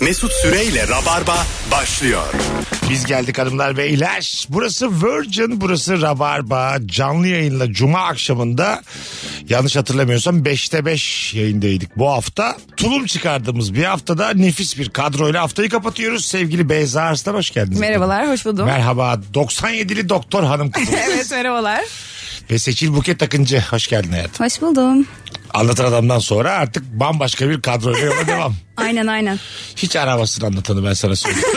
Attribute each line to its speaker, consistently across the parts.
Speaker 1: Mesut Süreyle Rabarba başlıyor.
Speaker 2: Biz geldik hanımlar beyler. Burası Virgin, burası Rabarba. Canlı yayınla Cuma akşamında yanlış hatırlamıyorsam 5'te 5 yayındaydık bu hafta. Tulum çıkardığımız bir haftada nefis bir kadroyla haftayı kapatıyoruz. Sevgili Beyza Arslan hoş geldiniz.
Speaker 3: Merhabalar, hoş buldum.
Speaker 2: Merhaba 97'li doktor hanım kızım
Speaker 3: evet, merhabalar.
Speaker 2: ve Seçil Buket Akıncı hoş geldin hayatım.
Speaker 4: Hoş buldum.
Speaker 2: Anlatan adamdan sonra artık bambaşka bir kadroyla yola devam.
Speaker 4: Aynen aynen.
Speaker 2: Hiç aramasını anlatanı ben sana söyleyeyim.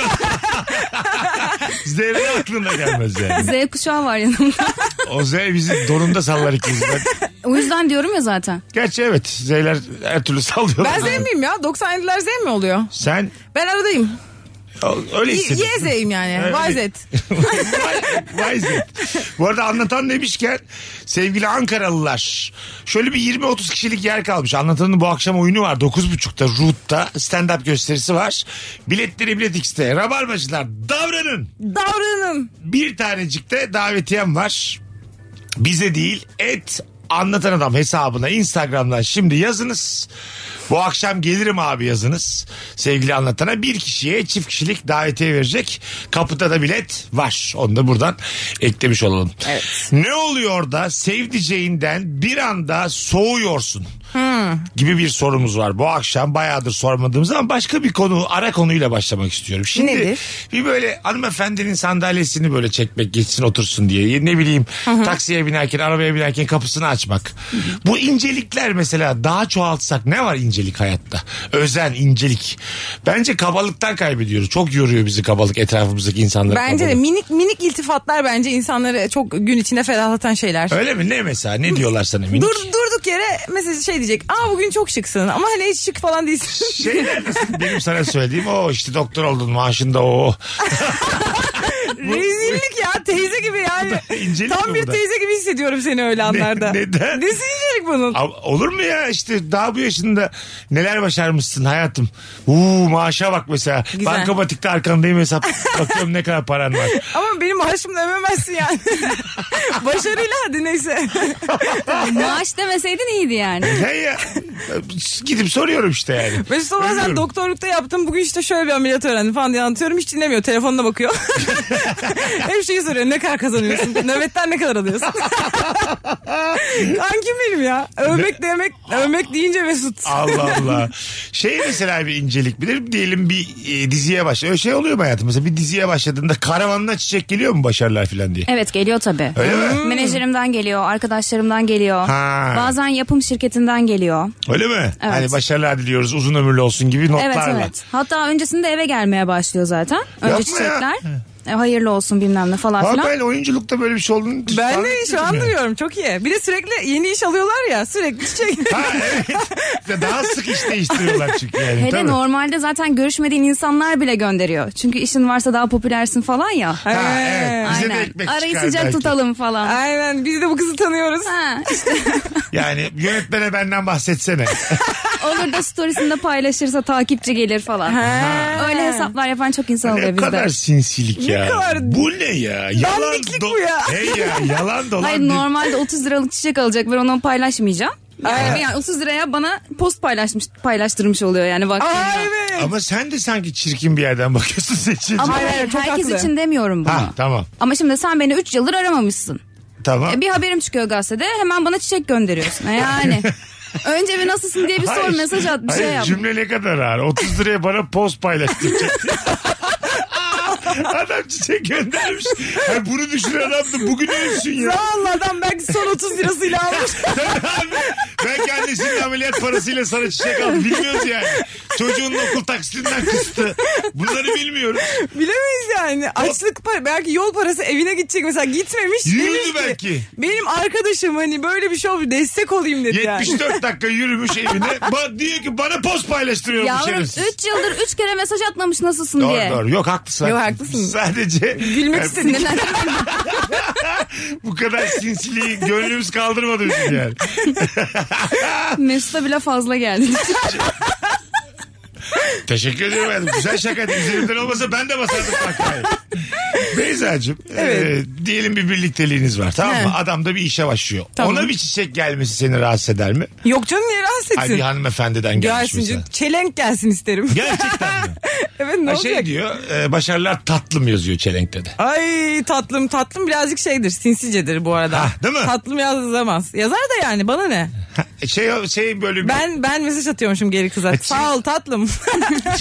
Speaker 2: Zerre aklına gelmez yani.
Speaker 4: Z kuşağı var yanımda.
Speaker 2: O Z bizi donunda sallar ikiz. Ben-
Speaker 4: o yüzden diyorum ya zaten.
Speaker 2: Gerçi evet Z'ler her türlü sallıyor.
Speaker 3: Ben Z miyim ya? 97'ler Z mi oluyor?
Speaker 2: Sen
Speaker 3: Ben aradayım.
Speaker 2: o- öyle
Speaker 3: Y,
Speaker 2: hissedin.
Speaker 3: y Z'yim yani. Y
Speaker 2: Öyle.
Speaker 3: Z.
Speaker 2: Vay- vay Z. Bu arada anlatan demişken sevgili Ankaralılar şöyle bir 20-30 kişilik yer kalmış. Anlatanın bu akşam oyunu var 9.30'da Root'ta stand-up gösterisi var. Biletleri Bilet X'te. Rabarbacılar davranın.
Speaker 3: Davranın.
Speaker 2: bir tanecikte davetiyem var. Bize değil et anlatan adam hesabına Instagram'dan şimdi yazınız. Bu akşam gelirim abi yazınız. Sevgili anlatana bir kişiye çift kişilik davetiye verecek. Kapıda da bilet var. Onu da buradan eklemiş olalım. Ne oluyor da sevdiceğinden bir anda soğuyorsun? Gibi bir sorumuz var. Bu akşam bayağıdır sormadığımız ama başka bir konu ara konuyla başlamak istiyorum. Şimdi
Speaker 3: Nedir?
Speaker 2: bir böyle hanımefendinin sandalyesini böyle çekmek geçsin otursun diye ne bileyim taksiye binerken arabaya binerken kapısını açmak. Bu incelikler mesela daha çoğaltsak ne var incelik hayatta? Özen incelik. Bence kabalıktan kaybediyoruz. Çok yoruyor bizi kabalık etrafımızdaki insanları.
Speaker 3: Bence de
Speaker 2: kabalık.
Speaker 3: minik minik iltifatlar bence insanları çok gün içinde ferahlatan şeyler.
Speaker 2: Öyle mi? Ne mesela? Ne diyorlar sana minik?
Speaker 3: Dur, durduk yere mesela şey diyecek. Aa bugün çok şıksın ama hani hiç şık falan değilsin.
Speaker 2: Şeyler nasıl? benim sana söylediğim o işte doktor oldun maaşında o.
Speaker 3: Rezillik ya teyze gibi yani.
Speaker 2: İncelik mi
Speaker 3: Tam bir
Speaker 2: bu da?
Speaker 3: teyze gibi hissediyorum seni öyle anlarda.
Speaker 2: neden?
Speaker 3: Nesi incelik bunun?
Speaker 2: Ama Olur mu ya işte daha bu yaşında neler başarmışsın hayatım. Uuu maaşa bak mesela.
Speaker 3: Güzel.
Speaker 2: Bankamatikte arkandayım hesap. Bakıyorum ne kadar paran var.
Speaker 3: Ama benim maaşımla övemezsin yani. Başarıyla hadi neyse.
Speaker 4: Maaş demeseydin iyiydi yani.
Speaker 2: Ne ya? Gidip soruyorum işte yani.
Speaker 3: Mesut Olmaz
Speaker 2: Ölüyorum.
Speaker 3: sen doktorlukta yaptım bugün işte şöyle bir ameliyat öğrendim falan diye anlatıyorum hiç dinlemiyor telefonuna bakıyor. Hep şeyi soruyor ne kadar kazanıyorsun nöbetten ne kadar alıyorsun. Kankim benim ya övmek demek övmek deyince Mesut.
Speaker 2: Allah Allah. Şey mesela bir incelik bilir diyelim bir e, diziye başla. Öyle şey oluyor mu hayatım? Mesela bir diziye başladığında karavanına çiçek geliyor mu başarılar falan diye?
Speaker 4: Evet geliyor tabii. Hmm.
Speaker 2: Öyle mi?
Speaker 4: Menajerimden geliyor, arkadaşlarımdan geliyor.
Speaker 2: Ha.
Speaker 4: Bazen yapım şirketinden geliyor.
Speaker 2: Öyle mi? Hani başarılar diliyoruz uzun ömürlü olsun gibi
Speaker 4: Evet
Speaker 2: notlarla.
Speaker 4: evet. Hatta öncesinde eve gelmeye başlıyor zaten. Önce
Speaker 2: Yapma
Speaker 4: çiçekler. E, Hayırlı olsun bilmem ne falan
Speaker 2: Ama
Speaker 4: filan.
Speaker 2: ben oyunculukta böyle bir şey olduğunu
Speaker 3: Ben
Speaker 2: zannetmiyorum
Speaker 3: de şu an
Speaker 2: yani.
Speaker 3: duyuyorum çok iyi. Bir de sürekli yeni iş alıyorlar ya sürekli çiçek.
Speaker 2: Ha evet. Daha sık iş değiştiriyorlar çünkü yani.
Speaker 4: Hele
Speaker 2: Tabii.
Speaker 4: normalde zaten görüşmediğin insanlar bile gönderiyor. Çünkü işin varsa daha popülersin falan ya.
Speaker 2: Ha, evet. Bize de
Speaker 4: Aynen.
Speaker 2: ekmek
Speaker 4: Arayı
Speaker 2: çıkar
Speaker 4: sıcak
Speaker 2: belki.
Speaker 4: tutalım falan.
Speaker 3: Aynen biz de bu kızı tanıyoruz.
Speaker 4: Ha,
Speaker 2: Yani yönetmene benden bahsetsene.
Speaker 4: Olur da storiesinde paylaşırsa takipçi gelir falan. Öyle hesaplar yapan çok insan
Speaker 2: ne
Speaker 4: oluyor bizde.
Speaker 2: kadar şey sinsilik ya.
Speaker 3: kadar-
Speaker 2: Bu ne ya? Yalan
Speaker 3: Dandiklik bu ya.
Speaker 2: Ne ya? Yalan dolan.
Speaker 4: Hayır
Speaker 2: bir-
Speaker 4: normalde 30 liralık çiçek alacak ben onu paylaşmayacağım. Yani, yani 30 liraya bana post paylaşmış paylaştırmış oluyor yani bak.
Speaker 3: Aa evet.
Speaker 2: Ama sen de sanki çirkin bir yerden bakıyorsun seçici.
Speaker 4: Ama
Speaker 3: Hayır, hayır, çok
Speaker 4: herkes
Speaker 3: haklı.
Speaker 4: için demiyorum bunu.
Speaker 2: Ha tamam.
Speaker 4: Ama şimdi sen beni 3 yıldır aramamışsın.
Speaker 2: Tamam.
Speaker 4: E, Bir haberim çıkıyor gazetede hemen bana çiçek gönderiyorsun. E, Yani önce bir nasılsın diye bir sor
Speaker 2: Hayır.
Speaker 4: mesaj at bir şey
Speaker 2: Hayır,
Speaker 4: yap.
Speaker 2: Cümle ne kadar ağır. 30 liraya bana post paylaştıracak. adam çiçek göndermiş. Hayır, bunu düşünen adamdı. Bugün ölsün ya.
Speaker 3: Zavallı adam belki son 30 lirasıyla almış.
Speaker 2: Tabii abi. Belki annesinin ameliyat parasıyla sana çiçek aldı. Bilmiyoruz yani. Çocuğunun okul taksitinden kıstı. Bunları bilmiyoruz.
Speaker 3: Bilemeyiz yani. Açlık para, belki yol parası evine gidecek mesela gitmemiş.
Speaker 2: Yürüdü
Speaker 3: demiş ki,
Speaker 2: belki.
Speaker 3: Benim arkadaşım hani böyle bir şey oldu destek olayım dedi yani.
Speaker 2: 74 dakika yürümüş evine. Ba- diyor ki bana post paylaştırıyor bu
Speaker 4: Yavrum
Speaker 2: şerefsiz.
Speaker 4: 3 yıldır 3 kere mesaj atmamış nasılsın diye.
Speaker 2: şey Doğru doğru. Yok haklısın.
Speaker 3: Yok, haklısın.
Speaker 2: Sadece
Speaker 3: Gülmek istedim.
Speaker 2: bu kadar sinsiliği gönlümüz kaldırmadı bizim yani.
Speaker 4: Mesut'a bile fazla geldi.
Speaker 2: Teşekkür ediyorum. hayatım. Güzel şakaydı. Üzerimden olmasa ben de basardım. kahkahayı. Beyza'cığım
Speaker 3: Evet.
Speaker 2: e, diyelim bir birlikteliğiniz var tamam mı?
Speaker 3: He.
Speaker 2: Adam da bir işe başlıyor.
Speaker 3: Tamam.
Speaker 2: Ona bir çiçek gelmesi seni rahatsız eder mi?
Speaker 3: Yok canım niye rahatsız
Speaker 2: Ay bir
Speaker 3: etsin?
Speaker 2: hanımefendiden gelmiş
Speaker 3: Gelsin
Speaker 2: mesela.
Speaker 3: canım. Çelenk gelsin isterim.
Speaker 2: Gerçekten mi?
Speaker 3: evet ne
Speaker 2: Ay,
Speaker 3: olacak?
Speaker 2: şey diyor e, başarılar tatlım yazıyor çelenkte de.
Speaker 3: Ay tatlım tatlım birazcık şeydir sinsicedir bu arada.
Speaker 2: Ha, değil mi?
Speaker 3: Tatlım yazamaz. Yazar da yani bana ne?
Speaker 2: Şey, şey bölümü.
Speaker 3: Ben ben mesaj atıyormuşum geri kıza.
Speaker 2: Açık.
Speaker 3: Sağ ol tatlım.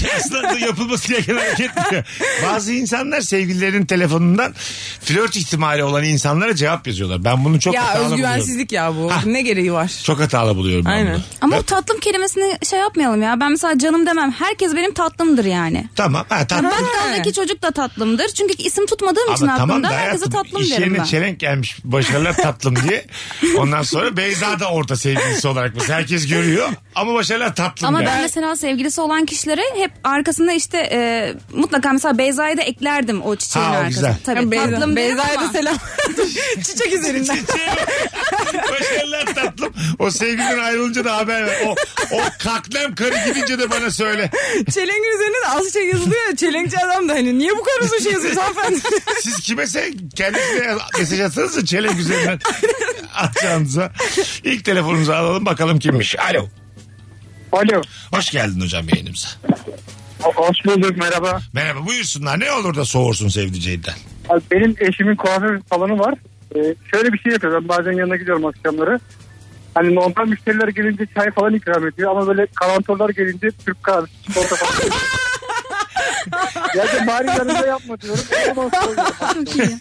Speaker 2: şey, Aslında yapılması gereken hareket mi? Bazı insanlar sevgililerin telefonundan flört ihtimali olan insanlara cevap yazıyorlar. Ben bunu çok
Speaker 3: ya
Speaker 2: hatalı buluyorum.
Speaker 3: özgüvensizlik ya bu.
Speaker 2: Ha.
Speaker 3: Ne gereği var?
Speaker 2: Çok hatalı buluyorum ben
Speaker 3: Aynen.
Speaker 2: bunu.
Speaker 4: Ama
Speaker 2: Ben-
Speaker 4: o tatlım kelimesini şey yapmayalım ya. Ben mesela canım demem. Herkes benim tatlımdır yani.
Speaker 2: Tamam. Ha,
Speaker 4: Ya
Speaker 2: tatlım.
Speaker 4: bakkaldaki çocuk da tatlımdır. Çünkü isim tutmadığım için
Speaker 2: Ama tamam da
Speaker 4: aklımda herkese
Speaker 2: hayatım
Speaker 4: tatlım
Speaker 2: iş
Speaker 4: derim
Speaker 2: yerine
Speaker 4: ben.
Speaker 2: çelenk gelmiş başarılar tatlım diye. Ondan sonra Beyza da orta sevgilisi olarak mesela herkes görüyor ama başarılar tatlım
Speaker 4: Ama
Speaker 2: yani.
Speaker 4: ben mesela sevgilisi olan kişilere hep arkasında işte e, mutlaka mesela Beyza'yı da eklerdim o çiçeğin
Speaker 2: Ha, o
Speaker 4: arkasına.
Speaker 2: güzel.
Speaker 4: Tabii tatlım derim
Speaker 3: Beyza'ya da
Speaker 4: ama.
Speaker 3: selam. Çiçek üzerinden.
Speaker 2: Çiçeğe bak. Başarılar tatlım. O sevgiliden ayrılınca da haber ver. O, o kaklem karı gidince de bana söyle.
Speaker 3: Çelengin üzerine de az şey yazılıyor ya. Çelenkçi adam da hani niye bu kadar uzun şey yazıyorsun hanımefendi?
Speaker 2: Siz kimese kendisine mesaj atsanız da çelenk üzerinden atacağınıza. İlk telefonunuzu alalım bakalım kimmiş. Alo.
Speaker 5: Alo.
Speaker 2: Hoş geldin hocam yayınımıza.
Speaker 5: Hoş bulduk merhaba.
Speaker 2: Merhaba buyursunlar. Ne olur da soğursun sevdiceğinden.
Speaker 5: Abi Benim eşimin kuaför salonu var. Ee, şöyle bir şey yapıyor. Ben bazen yanına gidiyorum akşamları. Hani normal müşteriler gelince çay falan ikram ediyor. Ama böyle kalantorlar gelince Türk kahvesi, çikolata falan. ya da bari yanında yapma diyorum. Ondan sonra yapıyor.
Speaker 4: Çok iyi.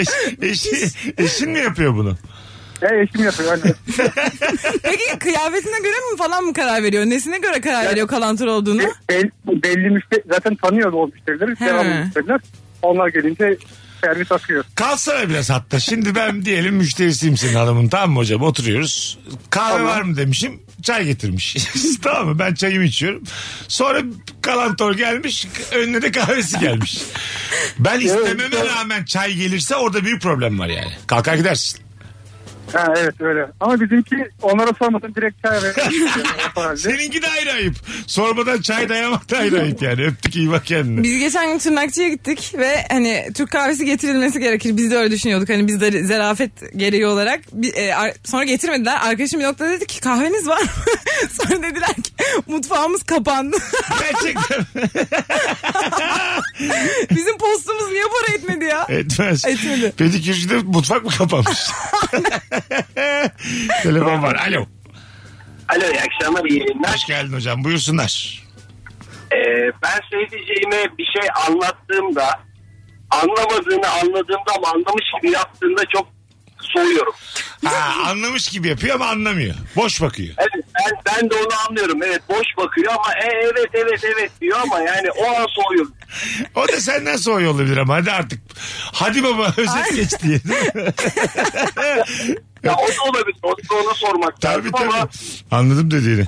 Speaker 2: Eş, eşi, eşin mi yapıyor bunu?
Speaker 5: Ya eşim yapıyor. Hani.
Speaker 3: Peki kıyafetine göre mi falan mı karar veriyor? Nesine göre karar veriyor kalantur olduğunu?
Speaker 5: Be- bel- belli müşteri zaten tanıyor o müşterileri.
Speaker 3: He.
Speaker 5: Devamlı müşteriler. Onlar gelince servis akıyor.
Speaker 2: Kalsana biraz hatta. Şimdi ben diyelim müşterisiyim senin hanımın tamam mı hocam oturuyoruz. Kahve
Speaker 5: Tamam.
Speaker 2: var mı demişim çay getirmiş. tamam mı ben çayımı içiyorum. Sonra kalantor gelmiş önüne de kahvesi gelmiş. Ben istememe rağmen çay gelirse orada büyük problem var yani. Kalkar gidersin.
Speaker 5: Ha, evet öyle. Ama bizimki onlara sormadan direkt çay veriyor. Herhalde.
Speaker 2: Seninki de ayrı ayıp. Sormadan çay dayamak da ayrı ayıp yani. Öptük iyi bak kendine.
Speaker 3: Biz geçen gün tırnakçıya gittik ve hani Türk kahvesi getirilmesi gerekir. Biz de öyle düşünüyorduk. Hani biz de zarafet gereği olarak. Bir- e, ar- sonra getirmediler. Arkadaşım bir noktada dedi ki kahveniz var mı? sonra dediler ki mutfağımız kapandı.
Speaker 2: Gerçekten
Speaker 3: Bizim postumuz niye para etmedi ya?
Speaker 2: etmez.
Speaker 3: Etmedi.
Speaker 2: Pedikürcüde mutfak mı kapanmış? Telefon var. Alo.
Speaker 6: Alo iyi akşamlar iyi yayınlar.
Speaker 2: Hoş geldin hocam. Buyursunlar.
Speaker 6: Ee, ben söyleyeceğime bir şey anlattığımda anlamadığını anladığımda ama anlamış gibi yaptığında çok soğuyorum.
Speaker 2: Ha, anlamış gibi yapıyor ama anlamıyor. Boş bakıyor.
Speaker 6: Evet ben, ben de onu anlıyorum. Evet boş bakıyor ama e, evet evet evet diyor ama yani o an soğuyorum.
Speaker 2: O da senden soğuyor olabilir ama hadi artık. Hadi baba özet geç diye. değil mi?
Speaker 6: Ya o da olabilir. Onu da ona sormak
Speaker 2: tabii
Speaker 6: lazım ama,
Speaker 2: tabii. Anladım dediğini.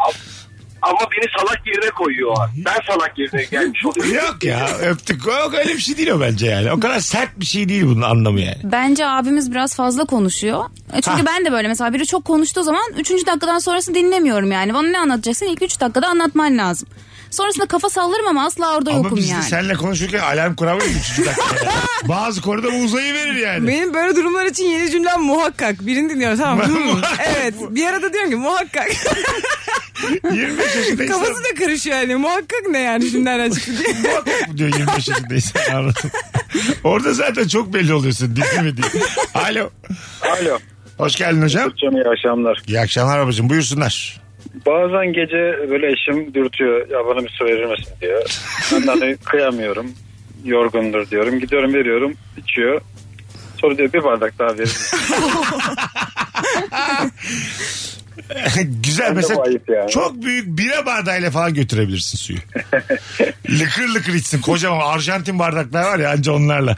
Speaker 6: ama beni salak yerine koyuyor. o an. Ben salak yerine gelmiş oluyorum.
Speaker 2: Yok ya öptük. Yok öyle bir şey değil o bence yani. O kadar sert bir şey değil bunun anlamı yani.
Speaker 4: Bence abimiz biraz fazla konuşuyor. E Çünkü
Speaker 2: Ha.
Speaker 4: ben de böyle mesela biri çok konuştuğu zaman 3. dakikadan sonrasını dinlemiyorum yani. Bana ne anlatacaksın? İlk 3 dakikada anlatman lazım. Sonrasında kafa sallarım ama asla orada
Speaker 2: Ama
Speaker 4: yokum
Speaker 2: biz
Speaker 4: yani.
Speaker 2: de seninle konuşurken alarm kuramayız üçüncü dakikada. Bazı konuda uzayı verir yani.
Speaker 3: Benim böyle durumlar için yeni cümlem muhakkak. Birini dinliyorum tamam. mı? Hmm.
Speaker 2: Muhakkak.
Speaker 3: evet. Bir arada diyorum ki muhakkak.
Speaker 2: 25 yaşında insan
Speaker 3: Kafası da karışıyor yani. Muhakkak ne yani cümleler çıktı diye.
Speaker 2: bu diyor 25 yaşında insan anladım. Orada zaten çok belli oluyorsun dinlemediğin. Alo.
Speaker 7: Alo.
Speaker 2: Hoş geldin hocam.
Speaker 7: Canım iyi akşamlar.
Speaker 2: İyi akşamlar babacığım buyursunlar.
Speaker 7: Bazen gece böyle eşim dürtüyor. Ya bana bir su verir misin diyor. Ben de hani kıyamıyorum. Yorgundur diyorum. Gidiyorum veriyorum. içiyor. Sonra diyor bir bardak daha verir misin?
Speaker 2: Güzel
Speaker 7: Bence
Speaker 2: mesela
Speaker 7: bu ayıp yani.
Speaker 2: çok büyük bira bardağıyla falan götürebilirsin suyu. lıkır lıkır içsin kocaman Arjantin bardaklar var ya anca onlarla.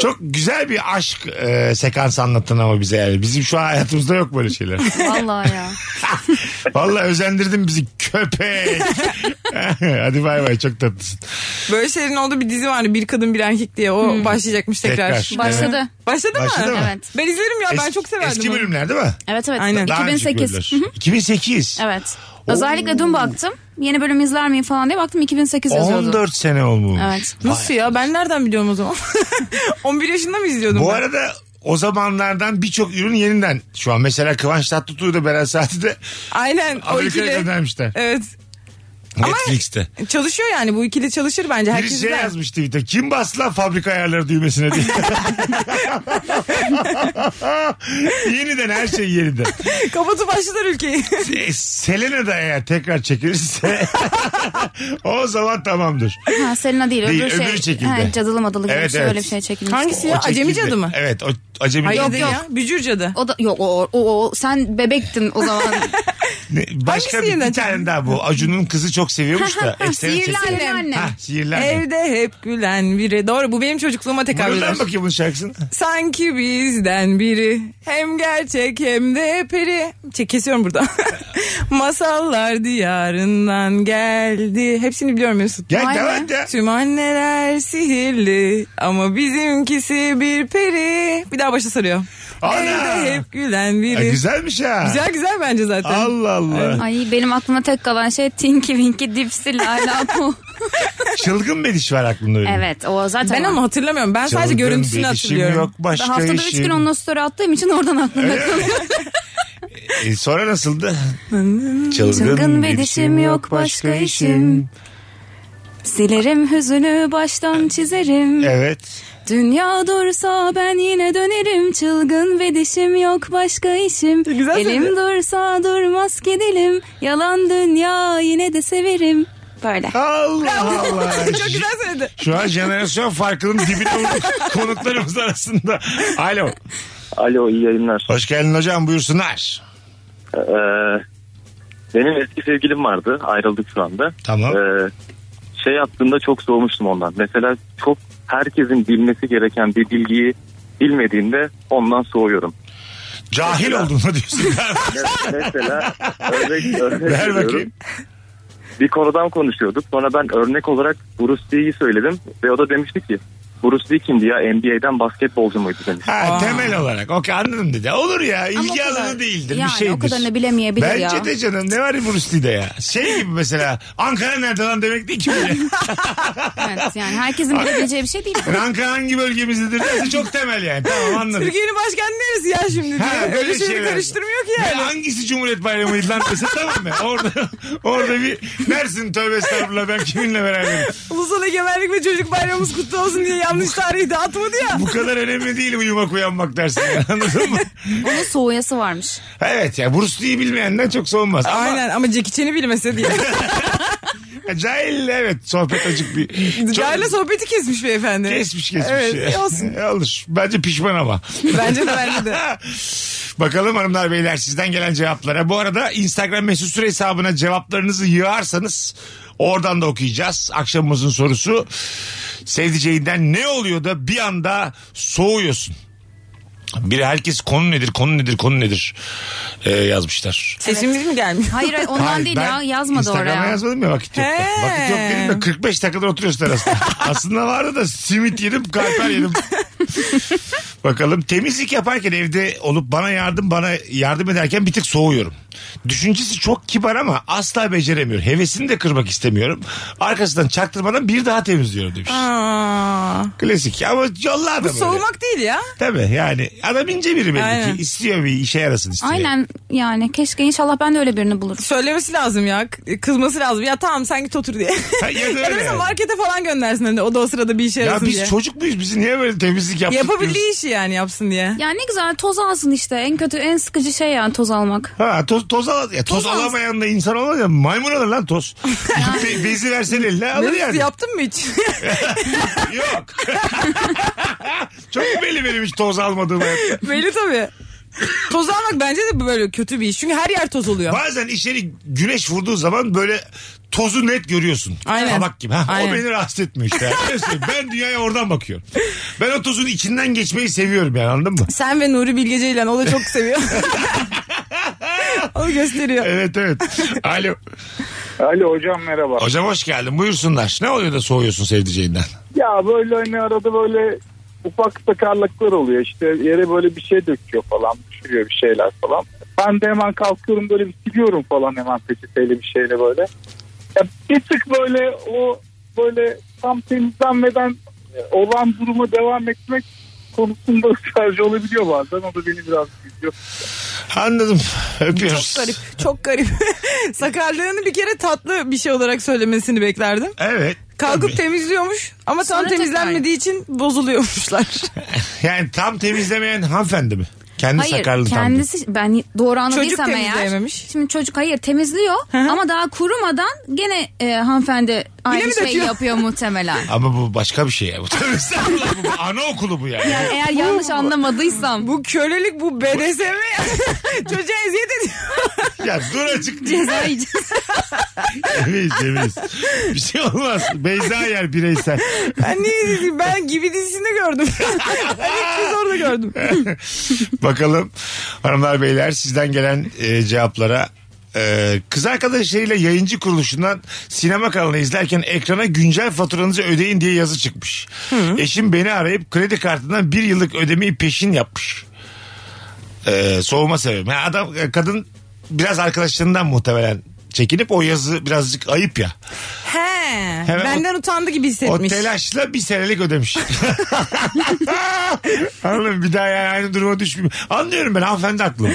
Speaker 2: Çok güzel bir aşk e, sekansı anlattın ama bize yani. Bizim şu an hayatımızda yok böyle şeyler.
Speaker 4: Vallahi ya.
Speaker 2: Vallahi özendirdin bizi köpek. Hadi bay bay çok tatlısın.
Speaker 3: Böyle şeylerin olduğu bir dizi vardı. Bir kadın bir erkek diye. O başlayacakmış tekrar.
Speaker 2: Hmm. Tekrar.
Speaker 4: Başladı.
Speaker 3: Başladı,
Speaker 2: Başladı mı?
Speaker 3: mı?
Speaker 4: Evet.
Speaker 3: Ben izlerim ya. ben
Speaker 2: Eski-
Speaker 3: çok severdim.
Speaker 2: Eski
Speaker 3: onu.
Speaker 2: bölümler değil mi?
Speaker 4: Evet evet.
Speaker 3: Aynen.
Speaker 2: Daha önceki
Speaker 4: 2008.
Speaker 2: bölümler. 2008.
Speaker 4: Evet. Özellikle dün baktım. Yeni bölüm izler miyim falan diye baktım 2008 yazıyordu.
Speaker 2: 14 sene olmuş.
Speaker 4: Evet.
Speaker 3: Nasıl ya? Ben nereden biliyorum o zaman? 11 yaşında mı izliyordum
Speaker 2: Bu
Speaker 3: ben?
Speaker 2: arada o zamanlardan birçok ürün yeniden. Şu an mesela Kıvanç Tatlıtuğ'u da Beren Saat'i de
Speaker 3: Aynen o
Speaker 2: Amerika'ya
Speaker 3: ikili.
Speaker 2: göndermişler.
Speaker 3: Evet.
Speaker 2: Netflix'te.
Speaker 3: Çalışıyor yani bu ikili çalışır bence.
Speaker 2: Birisi
Speaker 3: Herkes
Speaker 2: şey
Speaker 3: izler.
Speaker 2: yazmış Twitter. Kim bastı lan fabrika ayarları düğmesine diye. yeniden her şey yeniden.
Speaker 3: Kapatıp başlar ülkeyi.
Speaker 2: E, Selena da eğer tekrar çekilirse o zaman tamamdır.
Speaker 4: Ha, Selena değil,
Speaker 2: Değil,
Speaker 4: öbür şey.
Speaker 2: öbürü çekildi.
Speaker 4: Ha, cadılı madılı gibi
Speaker 2: Evet,
Speaker 4: bir şey,
Speaker 2: evet.
Speaker 4: öyle bir şey çekilmiş.
Speaker 3: Hangisi ya?
Speaker 2: O çekildi.
Speaker 3: Acemi cadı mı?
Speaker 2: Evet o acemi
Speaker 3: Hayır
Speaker 2: cadı.
Speaker 3: yok, Ya. Bücür cadı.
Speaker 4: O da yok o, o, o sen bebektin o zaman.
Speaker 2: Ne- Başka bir,
Speaker 3: Hangisi yeniden
Speaker 2: bir tane daha bu. Acun'un kızı çok seviyormuş da. eksene
Speaker 4: Sihirli
Speaker 2: çekildi.
Speaker 4: annem.
Speaker 2: Ha, sihirli annem.
Speaker 3: Evde hep gülen biri. Doğru bu benim çocukluğuma tekabül eder.
Speaker 2: Buradan bakayım bunun şarkısını.
Speaker 3: Sanki bizden biri hem gerçek hem de peri. Çek kesiyorum burada. Masallar diyarından geldi. Hepsini biliyorum Mesut.
Speaker 2: Gel
Speaker 4: Vay
Speaker 2: devam
Speaker 4: be.
Speaker 2: et ya.
Speaker 3: Tüm anneler sihirli ama bizimkisi bir peri. Bir daha başa sarıyor.
Speaker 2: Ana!
Speaker 3: Evde hep gülen
Speaker 2: Ha,
Speaker 3: biri. güzel.
Speaker 2: güzelmiş ha.
Speaker 3: güzel bence zaten.
Speaker 2: Allah Allah.
Speaker 4: Ay benim aklıma tek kalan şey Tinky Winky Dipsy Lala Poo.
Speaker 2: Çılgın bir diş var aklımda benim.
Speaker 4: evet o zaten.
Speaker 3: Ben
Speaker 4: var.
Speaker 3: onu hatırlamıyorum. Ben sadece
Speaker 2: Çılgın
Speaker 3: görüntüsünü
Speaker 2: bir işim
Speaker 3: hatırlıyorum.
Speaker 2: Yok başka
Speaker 4: Ben haftada
Speaker 2: işim.
Speaker 4: 3 gün onunla story attığım için oradan aklımda kalıyor.
Speaker 2: E, sonra nasıldı?
Speaker 4: Çılgın bir dişim yok başka işim. Silerim hüzünü baştan çizerim.
Speaker 2: Evet.
Speaker 4: Dünya dursa ben yine dönerim çılgın ve dişim yok başka işim.
Speaker 2: E,
Speaker 3: Güzel
Speaker 4: Elim
Speaker 3: söyledi.
Speaker 4: dursa durmaz ki dilim. Yalan dünya yine de severim. Böyle.
Speaker 2: Allah Allah.
Speaker 3: Çok güzel söyledi.
Speaker 2: Şu an jenerasyon farkının dibine vurduk konuklarımız arasında. Alo.
Speaker 7: Alo iyi yayınlar.
Speaker 2: Hoş geldin hocam buyursunlar.
Speaker 7: Ee, benim eski sevgilim vardı. Ayrıldık şu anda.
Speaker 2: Tamam.
Speaker 7: Ee, şey yaptığında çok soğumuştum ondan. Mesela çok herkesin bilmesi gereken bir bilgiyi bilmediğimde ondan soğuyorum.
Speaker 2: Cahil oldun da diyorsun.
Speaker 7: Me- Mesela örnek, örnek
Speaker 2: Ver
Speaker 7: veriyorum.
Speaker 2: bakayım.
Speaker 7: Bir konudan konuşuyorduk. Sonra ben örnek olarak Bruce Lee'yi söyledim. Ve o da demişti ki Bruce Lee kimdi ya? NBA'den basketbolcu muydu demiş.
Speaker 2: Ha, temel olarak. Okey anladım dedi. Olur ya
Speaker 4: Ama o
Speaker 2: ilgi
Speaker 4: kadar-
Speaker 2: alanı değildir.
Speaker 4: Yani
Speaker 2: bir
Speaker 4: o
Speaker 2: şeydir.
Speaker 4: kadarını bilemeyebilir
Speaker 2: Bence
Speaker 4: ya.
Speaker 2: de canım ne var ya Bruce Lee'de ya. Şey gibi mesela Ankara nerede lan demek değil ki böyle.
Speaker 4: Evet yani herkesin bilebileceği bir şey değil.
Speaker 2: Yani Ankara hangi bölgemizdedir derse çok temel yani. Tamam anladım.
Speaker 3: Türkiye'nin başkenti neresi ya şimdi?
Speaker 2: Ha,
Speaker 3: diye.
Speaker 2: böyle
Speaker 3: Öyle şeyleri
Speaker 2: şeyler.
Speaker 3: karıştırmıyor ki
Speaker 2: Ya
Speaker 3: yani.
Speaker 2: hangisi Cumhuriyet Bayramı'ydı lan dese tamam mı? Orada, orada bir dersin tövbe estağfurullah ben kiminle beraberim.
Speaker 3: Ulusal Egemenlik ve Çocuk Bayramımız kutlu olsun diye yanlış tarihi dağıtmadı ya.
Speaker 2: Bu kadar önemli değil uyumak uyanmak dersin yani, anladın mı?
Speaker 4: Onun soğuyası varmış.
Speaker 2: Evet ya Bruce Lee'yi bilmeyenden çok soğumaz. Ama
Speaker 3: Aynen ama Jackie Chan'i bilmese diye.
Speaker 2: Cahil evet sohbet acık bir. Çok-
Speaker 3: Cahil'le sohbeti kesmiş beyefendi.
Speaker 2: Kesmiş kesmiş.
Speaker 3: Evet, e,
Speaker 2: ya.
Speaker 3: olsun.
Speaker 2: Olur. Bence pişman ama.
Speaker 3: Bence de bence de.
Speaker 2: Bakalım hanımlar beyler sizden gelen cevaplara. Bu arada Instagram mesut süre hesabına cevaplarınızı yığarsanız oradan da okuyacağız. Akşamımızın sorusu sevdiceğinden ne oluyor da bir anda soğuyorsun? Bir herkes konu nedir konu nedir konu nedir ee, yazmışlar.
Speaker 3: Sesimiz mi gelmiyor?
Speaker 4: Hayır hayır, ondan
Speaker 2: Hayır,
Speaker 4: değil
Speaker 2: ben
Speaker 4: ya yazmadı
Speaker 2: Instagram'a
Speaker 4: oraya.
Speaker 2: yazmadım ya vakit yok.
Speaker 3: He.
Speaker 2: Vakit yok dedim de 45 dakikadır oturuyorsun arasında. Aslında vardı da simit yedim kalper yedim. Bakalım temizlik yaparken evde olup bana yardım bana yardım ederken bir tık soğuyorum. Düşüncesi çok kibar ama asla beceremiyor. Hevesini de kırmak istemiyorum. Arkasından çaktırmadan bir daha temizliyorum demiş.
Speaker 3: Aa,
Speaker 2: Klasik ama yolla adamı. öyle.
Speaker 3: soğumak değil ya.
Speaker 2: Tabii yani adam ince biri belli
Speaker 3: Aynen.
Speaker 2: ki. İstiyor bir işe yarasın istiyor.
Speaker 4: Aynen yani keşke inşallah ben de öyle birini bulurum.
Speaker 3: Söylemesi lazım ya. k- Kızması lazım. Ya tamam sen git otur diye.
Speaker 2: Ha, ya da öyle
Speaker 3: mesela
Speaker 2: yani.
Speaker 3: markete falan göndersin hani o da o sırada bir işe
Speaker 2: Ya
Speaker 3: yarasın
Speaker 2: biz
Speaker 3: diye.
Speaker 2: çocuk muyuz? Bizi niye böyle temizlik yaptık? diyoruz?
Speaker 3: Yapabildiği işi yani yapsın diye.
Speaker 4: Ya ne güzel toz alsın işte. En kötü en sıkıcı şey yani toz almak.
Speaker 2: Ha toz toz al ya, toz,
Speaker 4: Toz al-
Speaker 2: alamayan da insan olmaz ya maymun alır lan toz. Be- bezi versen eline alır
Speaker 3: Ne
Speaker 2: yani.
Speaker 3: yaptın mı hiç?
Speaker 2: Yok. Çok belli benim hiç toz almadığım hayatta.
Speaker 3: Belli tabii. Toz almak bence de böyle kötü bir iş. Çünkü her yer toz oluyor.
Speaker 2: Bazen içeri güneş vurduğu zaman böyle tozu net görüyorsun.
Speaker 3: Aynen.
Speaker 2: Tabak gibi. Ha, o
Speaker 3: Aynen.
Speaker 2: beni rahatsız etmiyor işte. Öyle söyleyeyim. ben dünyaya oradan bakıyorum. Ben o tozun içinden geçmeyi seviyorum yani anladın mı?
Speaker 3: Sen ve Nuri Bilge Ceylan o da çok seviyor. o gösteriyor.
Speaker 2: Evet evet. Alo.
Speaker 5: Alo hocam merhaba.
Speaker 2: Hocam hoş geldin. Buyursunlar. Ne oluyor da soğuyorsun sevdiceğinden?
Speaker 5: Ya böyle hani arada böyle ufak takarlıklar oluyor işte yere böyle bir şey döküyor falan düşürüyor bir şeyler falan. Ben de hemen kalkıyorum böyle bir siliyorum falan hemen peçeteyle bir şeyle böyle. Ya bir tık böyle o böyle tam temizlenmeden e, olan duruma devam etmek konusunda ısrarcı olabiliyor bazen. O da beni biraz üzüyor.
Speaker 2: Anladım. Öpüyoruz.
Speaker 3: Çok garip. Çok garip. Sakarlığını bir kere tatlı bir şey olarak söylemesini beklerdim.
Speaker 2: Evet.
Speaker 3: Kalkıp
Speaker 2: Tabii.
Speaker 3: temizliyormuş ama tam
Speaker 4: Sonra
Speaker 3: temizlenmediği için bozuluyormuşlar.
Speaker 2: yani tam temizlemeyen hanımefendi mi? Kendi
Speaker 4: Hayır
Speaker 2: sakarlı tam.
Speaker 4: kendisi ben doğru anladıysam
Speaker 3: Çocuk
Speaker 4: eğer.
Speaker 3: temizleyememiş.
Speaker 4: Şimdi çocuk hayır temizliyor
Speaker 3: hı.
Speaker 4: ama daha kurumadan gene e, hanımefendi
Speaker 3: mi
Speaker 4: aynı şeyi
Speaker 3: döküyor?
Speaker 4: yapıyor muhtemelen.
Speaker 2: Ama bu başka bir şey ya. Bu tabii estağfurullah, bu, bu anaokulu bu yani.
Speaker 4: Yani eğer yanlış anlamadıysam
Speaker 3: Bu kölelik bu BDSM ya. Çocuğa eziyet ediyor.
Speaker 2: ya dur açık.
Speaker 4: ceza yiyeceğiz.
Speaker 2: Ceviz ceviz. Bir şey olmaz. Beyza yer bireysel.
Speaker 3: Ben niye dedim? Ben gibi dizisinde gördüm. ben ilk kez orada gördüm.
Speaker 2: Bakalım hanımlar beyler sizden gelen e, cevaplara e, kız arkadaşlarıyla yayıncı kuruluşundan sinema kanalını izlerken ekrana güncel faturanızı ödeyin diye yazı çıkmış. Eşim beni arayıp kredi kartından bir yıllık ödemeyi peşin yapmış. E, soğuma sebebi. Yani adam e, kadın biraz arkadaşlarından muhtemelen çekinip o yazı birazcık ayıp ya.
Speaker 3: He.
Speaker 2: Hemen
Speaker 3: benden utandı gibi hissetmiş.
Speaker 2: O telaşla bir senelik ödemiş. Anladım bir daha yani aynı duruma düşmeyeyim. Anlıyorum ben hanımefendi haklı burada.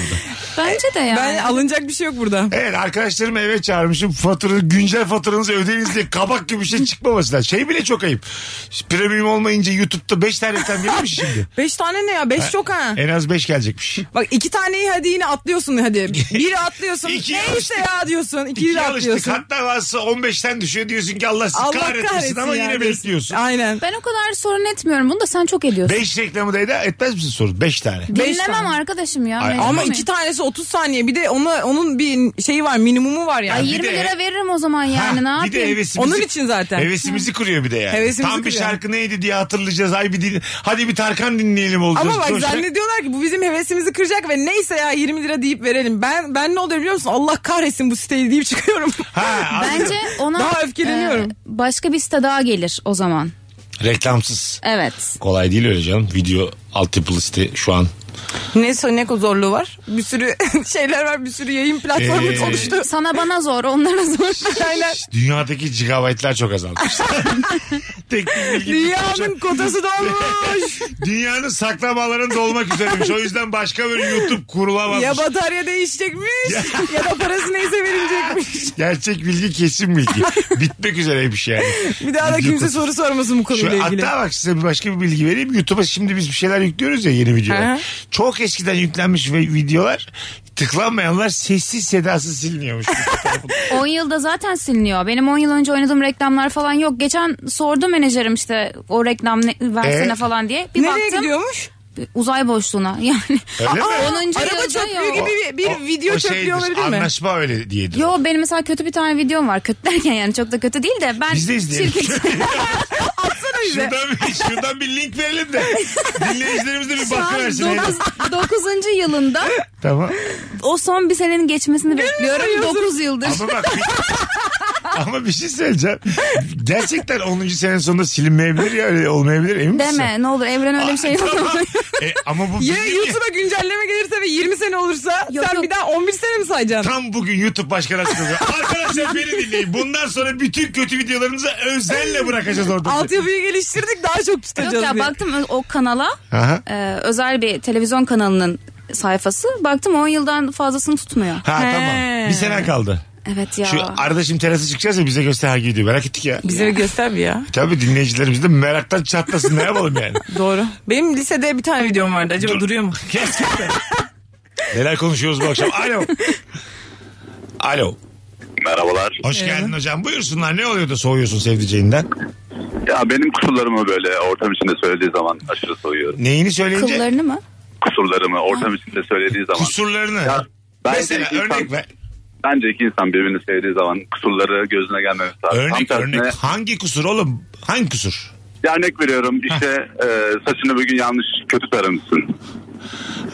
Speaker 4: Bence de yani.
Speaker 3: Ben alınacak bir şey yok burada.
Speaker 2: Evet arkadaşlarımı eve çağırmışım. Fatura, güncel faturanızı ödeyiniz diye kabak gibi bir şey çıkmaması lazım. Şey bile çok ayıp. Premium olmayınca YouTube'da 5 tane reklam gelmiş şimdi.
Speaker 3: Beş tane ne ya? Beş çok ha.
Speaker 2: En az 5 gelecekmiş.
Speaker 3: Bak iki taneyi hadi yine atlıyorsun hadi. Biri atlıyorsun.
Speaker 2: İkiye
Speaker 3: Neyse
Speaker 2: alıştık.
Speaker 3: ya diyorsun. İkiyi
Speaker 2: İki
Speaker 3: de
Speaker 2: alıştık.
Speaker 3: atlıyorsun.
Speaker 2: Hatta varsa 15'ten düşüyor diyorsun ki Allah sizi
Speaker 3: Allah
Speaker 2: kahretmesin
Speaker 3: kahretsin
Speaker 2: ama
Speaker 3: ya
Speaker 2: yine
Speaker 3: diyorsun.
Speaker 2: bekliyorsun.
Speaker 3: Aynen.
Speaker 4: Ben o kadar sorun etmiyorum. Bunu da sen çok ediyorsun.
Speaker 2: 5 reklamı da eder, etmez misin soru? 5 tane.
Speaker 3: beş
Speaker 4: Dinlemem
Speaker 3: tane.
Speaker 4: arkadaşım ya.
Speaker 2: Ay,
Speaker 4: mecbur
Speaker 3: Ama
Speaker 4: muyum?
Speaker 3: iki tanesi 30 saniye. Bir de ona, onun bir şeyi var minimumu var yani.
Speaker 4: Ay
Speaker 2: bir
Speaker 4: 20
Speaker 2: de-
Speaker 4: lira veririm o zaman yani ne
Speaker 2: Ha,
Speaker 4: yapayım?
Speaker 2: bir de hevesimizi,
Speaker 3: Onun için zaten.
Speaker 2: Hevesimizi kuruyor bir de yani.
Speaker 3: Hevesimizi
Speaker 2: Tam bir
Speaker 3: kuruyor.
Speaker 2: şarkı neydi diye hatırlayacağız. Ay bir din... Hadi bir Tarkan dinleyelim olacağız.
Speaker 3: Ama bak
Speaker 2: Coşacak.
Speaker 3: zannediyorlar ki bu bizim hevesimizi kıracak ve neyse ya 20 lira deyip verelim. Ben ben ne oluyor biliyor musun? Allah kahretsin bu siteyi deyip çıkıyorum.
Speaker 2: Ha,
Speaker 4: Bence ona
Speaker 3: Daha öfkeleniyorum.
Speaker 4: e, başka bir site daha gelir o zaman.
Speaker 2: Reklamsız.
Speaker 4: Evet.
Speaker 2: Kolay değil öyle canım. Video altyapılı site şu an.
Speaker 3: ne ne zorluğu var? Bir sürü şeyler var, bir sürü yayın platformu
Speaker 2: Ee,
Speaker 3: oluştu.
Speaker 4: Sana bana zor, onlara zor.
Speaker 3: Aynen.
Speaker 2: Dünyadaki gigabaytlar çok azaldı. Teknik bilgi
Speaker 3: Dünyanın kotası dolmuş.
Speaker 2: Dünyanın saklamaların dolmak üzereymiş. O yüzden başka bir YouTube kurulamaz.
Speaker 3: ya batarya değişecekmiş ya da parası neyse verilecekmiş.
Speaker 2: Gerçek bilgi kesin bilgi. Bitmek üzereymiş yani.
Speaker 3: Bir daha da
Speaker 2: Video
Speaker 3: kimse
Speaker 2: kutusu.
Speaker 3: soru sormasın bu konuyla
Speaker 2: Şu,
Speaker 3: ilgili.
Speaker 2: hatta bak size bir başka bir bilgi vereyim. YouTube'a şimdi biz bir şeyler yüklüyoruz ya yeni videolar.
Speaker 3: Aha.
Speaker 2: Çok eskiden yüklenmiş ve videolar tıklanmayanlar sessiz sedasız siliniyormuş.
Speaker 4: 10 yılda zaten siliniyor. Benim 10 yıl önce oynadığım reklamlar falan yok. Geçen sordu menajerim işte o reklam ne, versene
Speaker 2: Ee?
Speaker 4: falan diye. Bir
Speaker 3: Nereye
Speaker 4: baktım
Speaker 3: gidiyormuş?
Speaker 4: uzay boşluğuna. Yani
Speaker 2: Öyle mi?
Speaker 4: 10.
Speaker 3: Araba
Speaker 4: yılda
Speaker 3: çöplüğü
Speaker 4: yok.
Speaker 3: gibi bir, bir video çöplüğü
Speaker 2: şeydir,
Speaker 3: olabilir mi?
Speaker 2: Anlaşma öyle diyedir.
Speaker 4: Yo benim mesela kötü bir tane videom var. Kötü derken yani çok da kötü değil de ben
Speaker 2: Biz de izleyelim.
Speaker 3: Atsana bize.
Speaker 2: Şuradan bir, şuradan bir link verelim de dinleyicilerimiz de bir
Speaker 4: şu an
Speaker 2: bakıversin. hele.
Speaker 4: 9. yılında
Speaker 2: Tamam.
Speaker 4: o son bir senenin geçmesini bekliyorum.
Speaker 3: sayıyorsun.
Speaker 4: 9 yıldır.
Speaker 2: Ama bak bir, ama bir şey söyleyeceğim. Gerçekten 10. sene sonunda silinmeyebilir ya öyle olmayabilir emin misin?
Speaker 4: Deme ne olur evren öyle bir şey yok.
Speaker 2: Tamam. E, ama bu
Speaker 3: Ya
Speaker 2: bilgi-
Speaker 3: YouTube'a güncelleme gelirse ve 20 sene olursa
Speaker 4: Yok,
Speaker 3: sen
Speaker 4: yok.
Speaker 3: bir daha 11 sene mi sayacaksın?
Speaker 2: Tam bugün YouTube başkanı açıkladı. Arkadaşlar beni dinleyin. Bundan sonra bütün kötü videolarımızı özenle bırakacağız orada.
Speaker 3: Altyapıyı geliştirdik daha çok tutacağız.
Speaker 4: Yok ya
Speaker 3: diye.
Speaker 4: baktım o- o kanala
Speaker 2: Aha.
Speaker 4: e, özel bir televizyon kanalının sayfası. Baktım 10 yıldan fazlasını tutmuyor.
Speaker 2: Ha
Speaker 3: He.
Speaker 2: tamam. Bir sene kaldı.
Speaker 4: Evet ya.
Speaker 2: Şu arada şimdi terasa çıkacağız ya bize göster hangi video. Merak ettik ya.
Speaker 3: Bize göster bir ya.
Speaker 2: Tabii dinleyicilerimiz de meraktan çatlasın. Ne yapalım yani?
Speaker 3: Doğru. Benim lisede bir tane videom vardı. Acaba
Speaker 2: Dur.
Speaker 3: duruyor mu?
Speaker 2: Gerçekten. Neler konuşuyoruz bu akşam? Alo. Alo.
Speaker 8: Merhabalar.
Speaker 2: Hoş geldin hocam. Buyursunlar. Ne oluyor da soğuyorsun sevdiceğinden?
Speaker 8: Ya benim kusurlarımı böyle ortam içinde söylediği zaman aşırı soğuyorum.
Speaker 2: Neyini söyleyince?
Speaker 4: Kıllarını mı?
Speaker 8: Kusurlarımı ortam içinde söylediği zaman.
Speaker 2: Kusurlarını.
Speaker 8: Ya, bence
Speaker 2: Mesela
Speaker 8: insan-
Speaker 2: örnek ver.
Speaker 8: Bence iki insan birbirini sevdiği zaman kusurları gözüne gelmemesi lazım.
Speaker 2: Örnek
Speaker 8: Tam
Speaker 2: örnek.
Speaker 8: tersine,
Speaker 2: Hangi kusur oğlum? Hangi kusur?
Speaker 8: ya örnek veriyorum işte e, saçını bugün yanlış kötü taramışsın.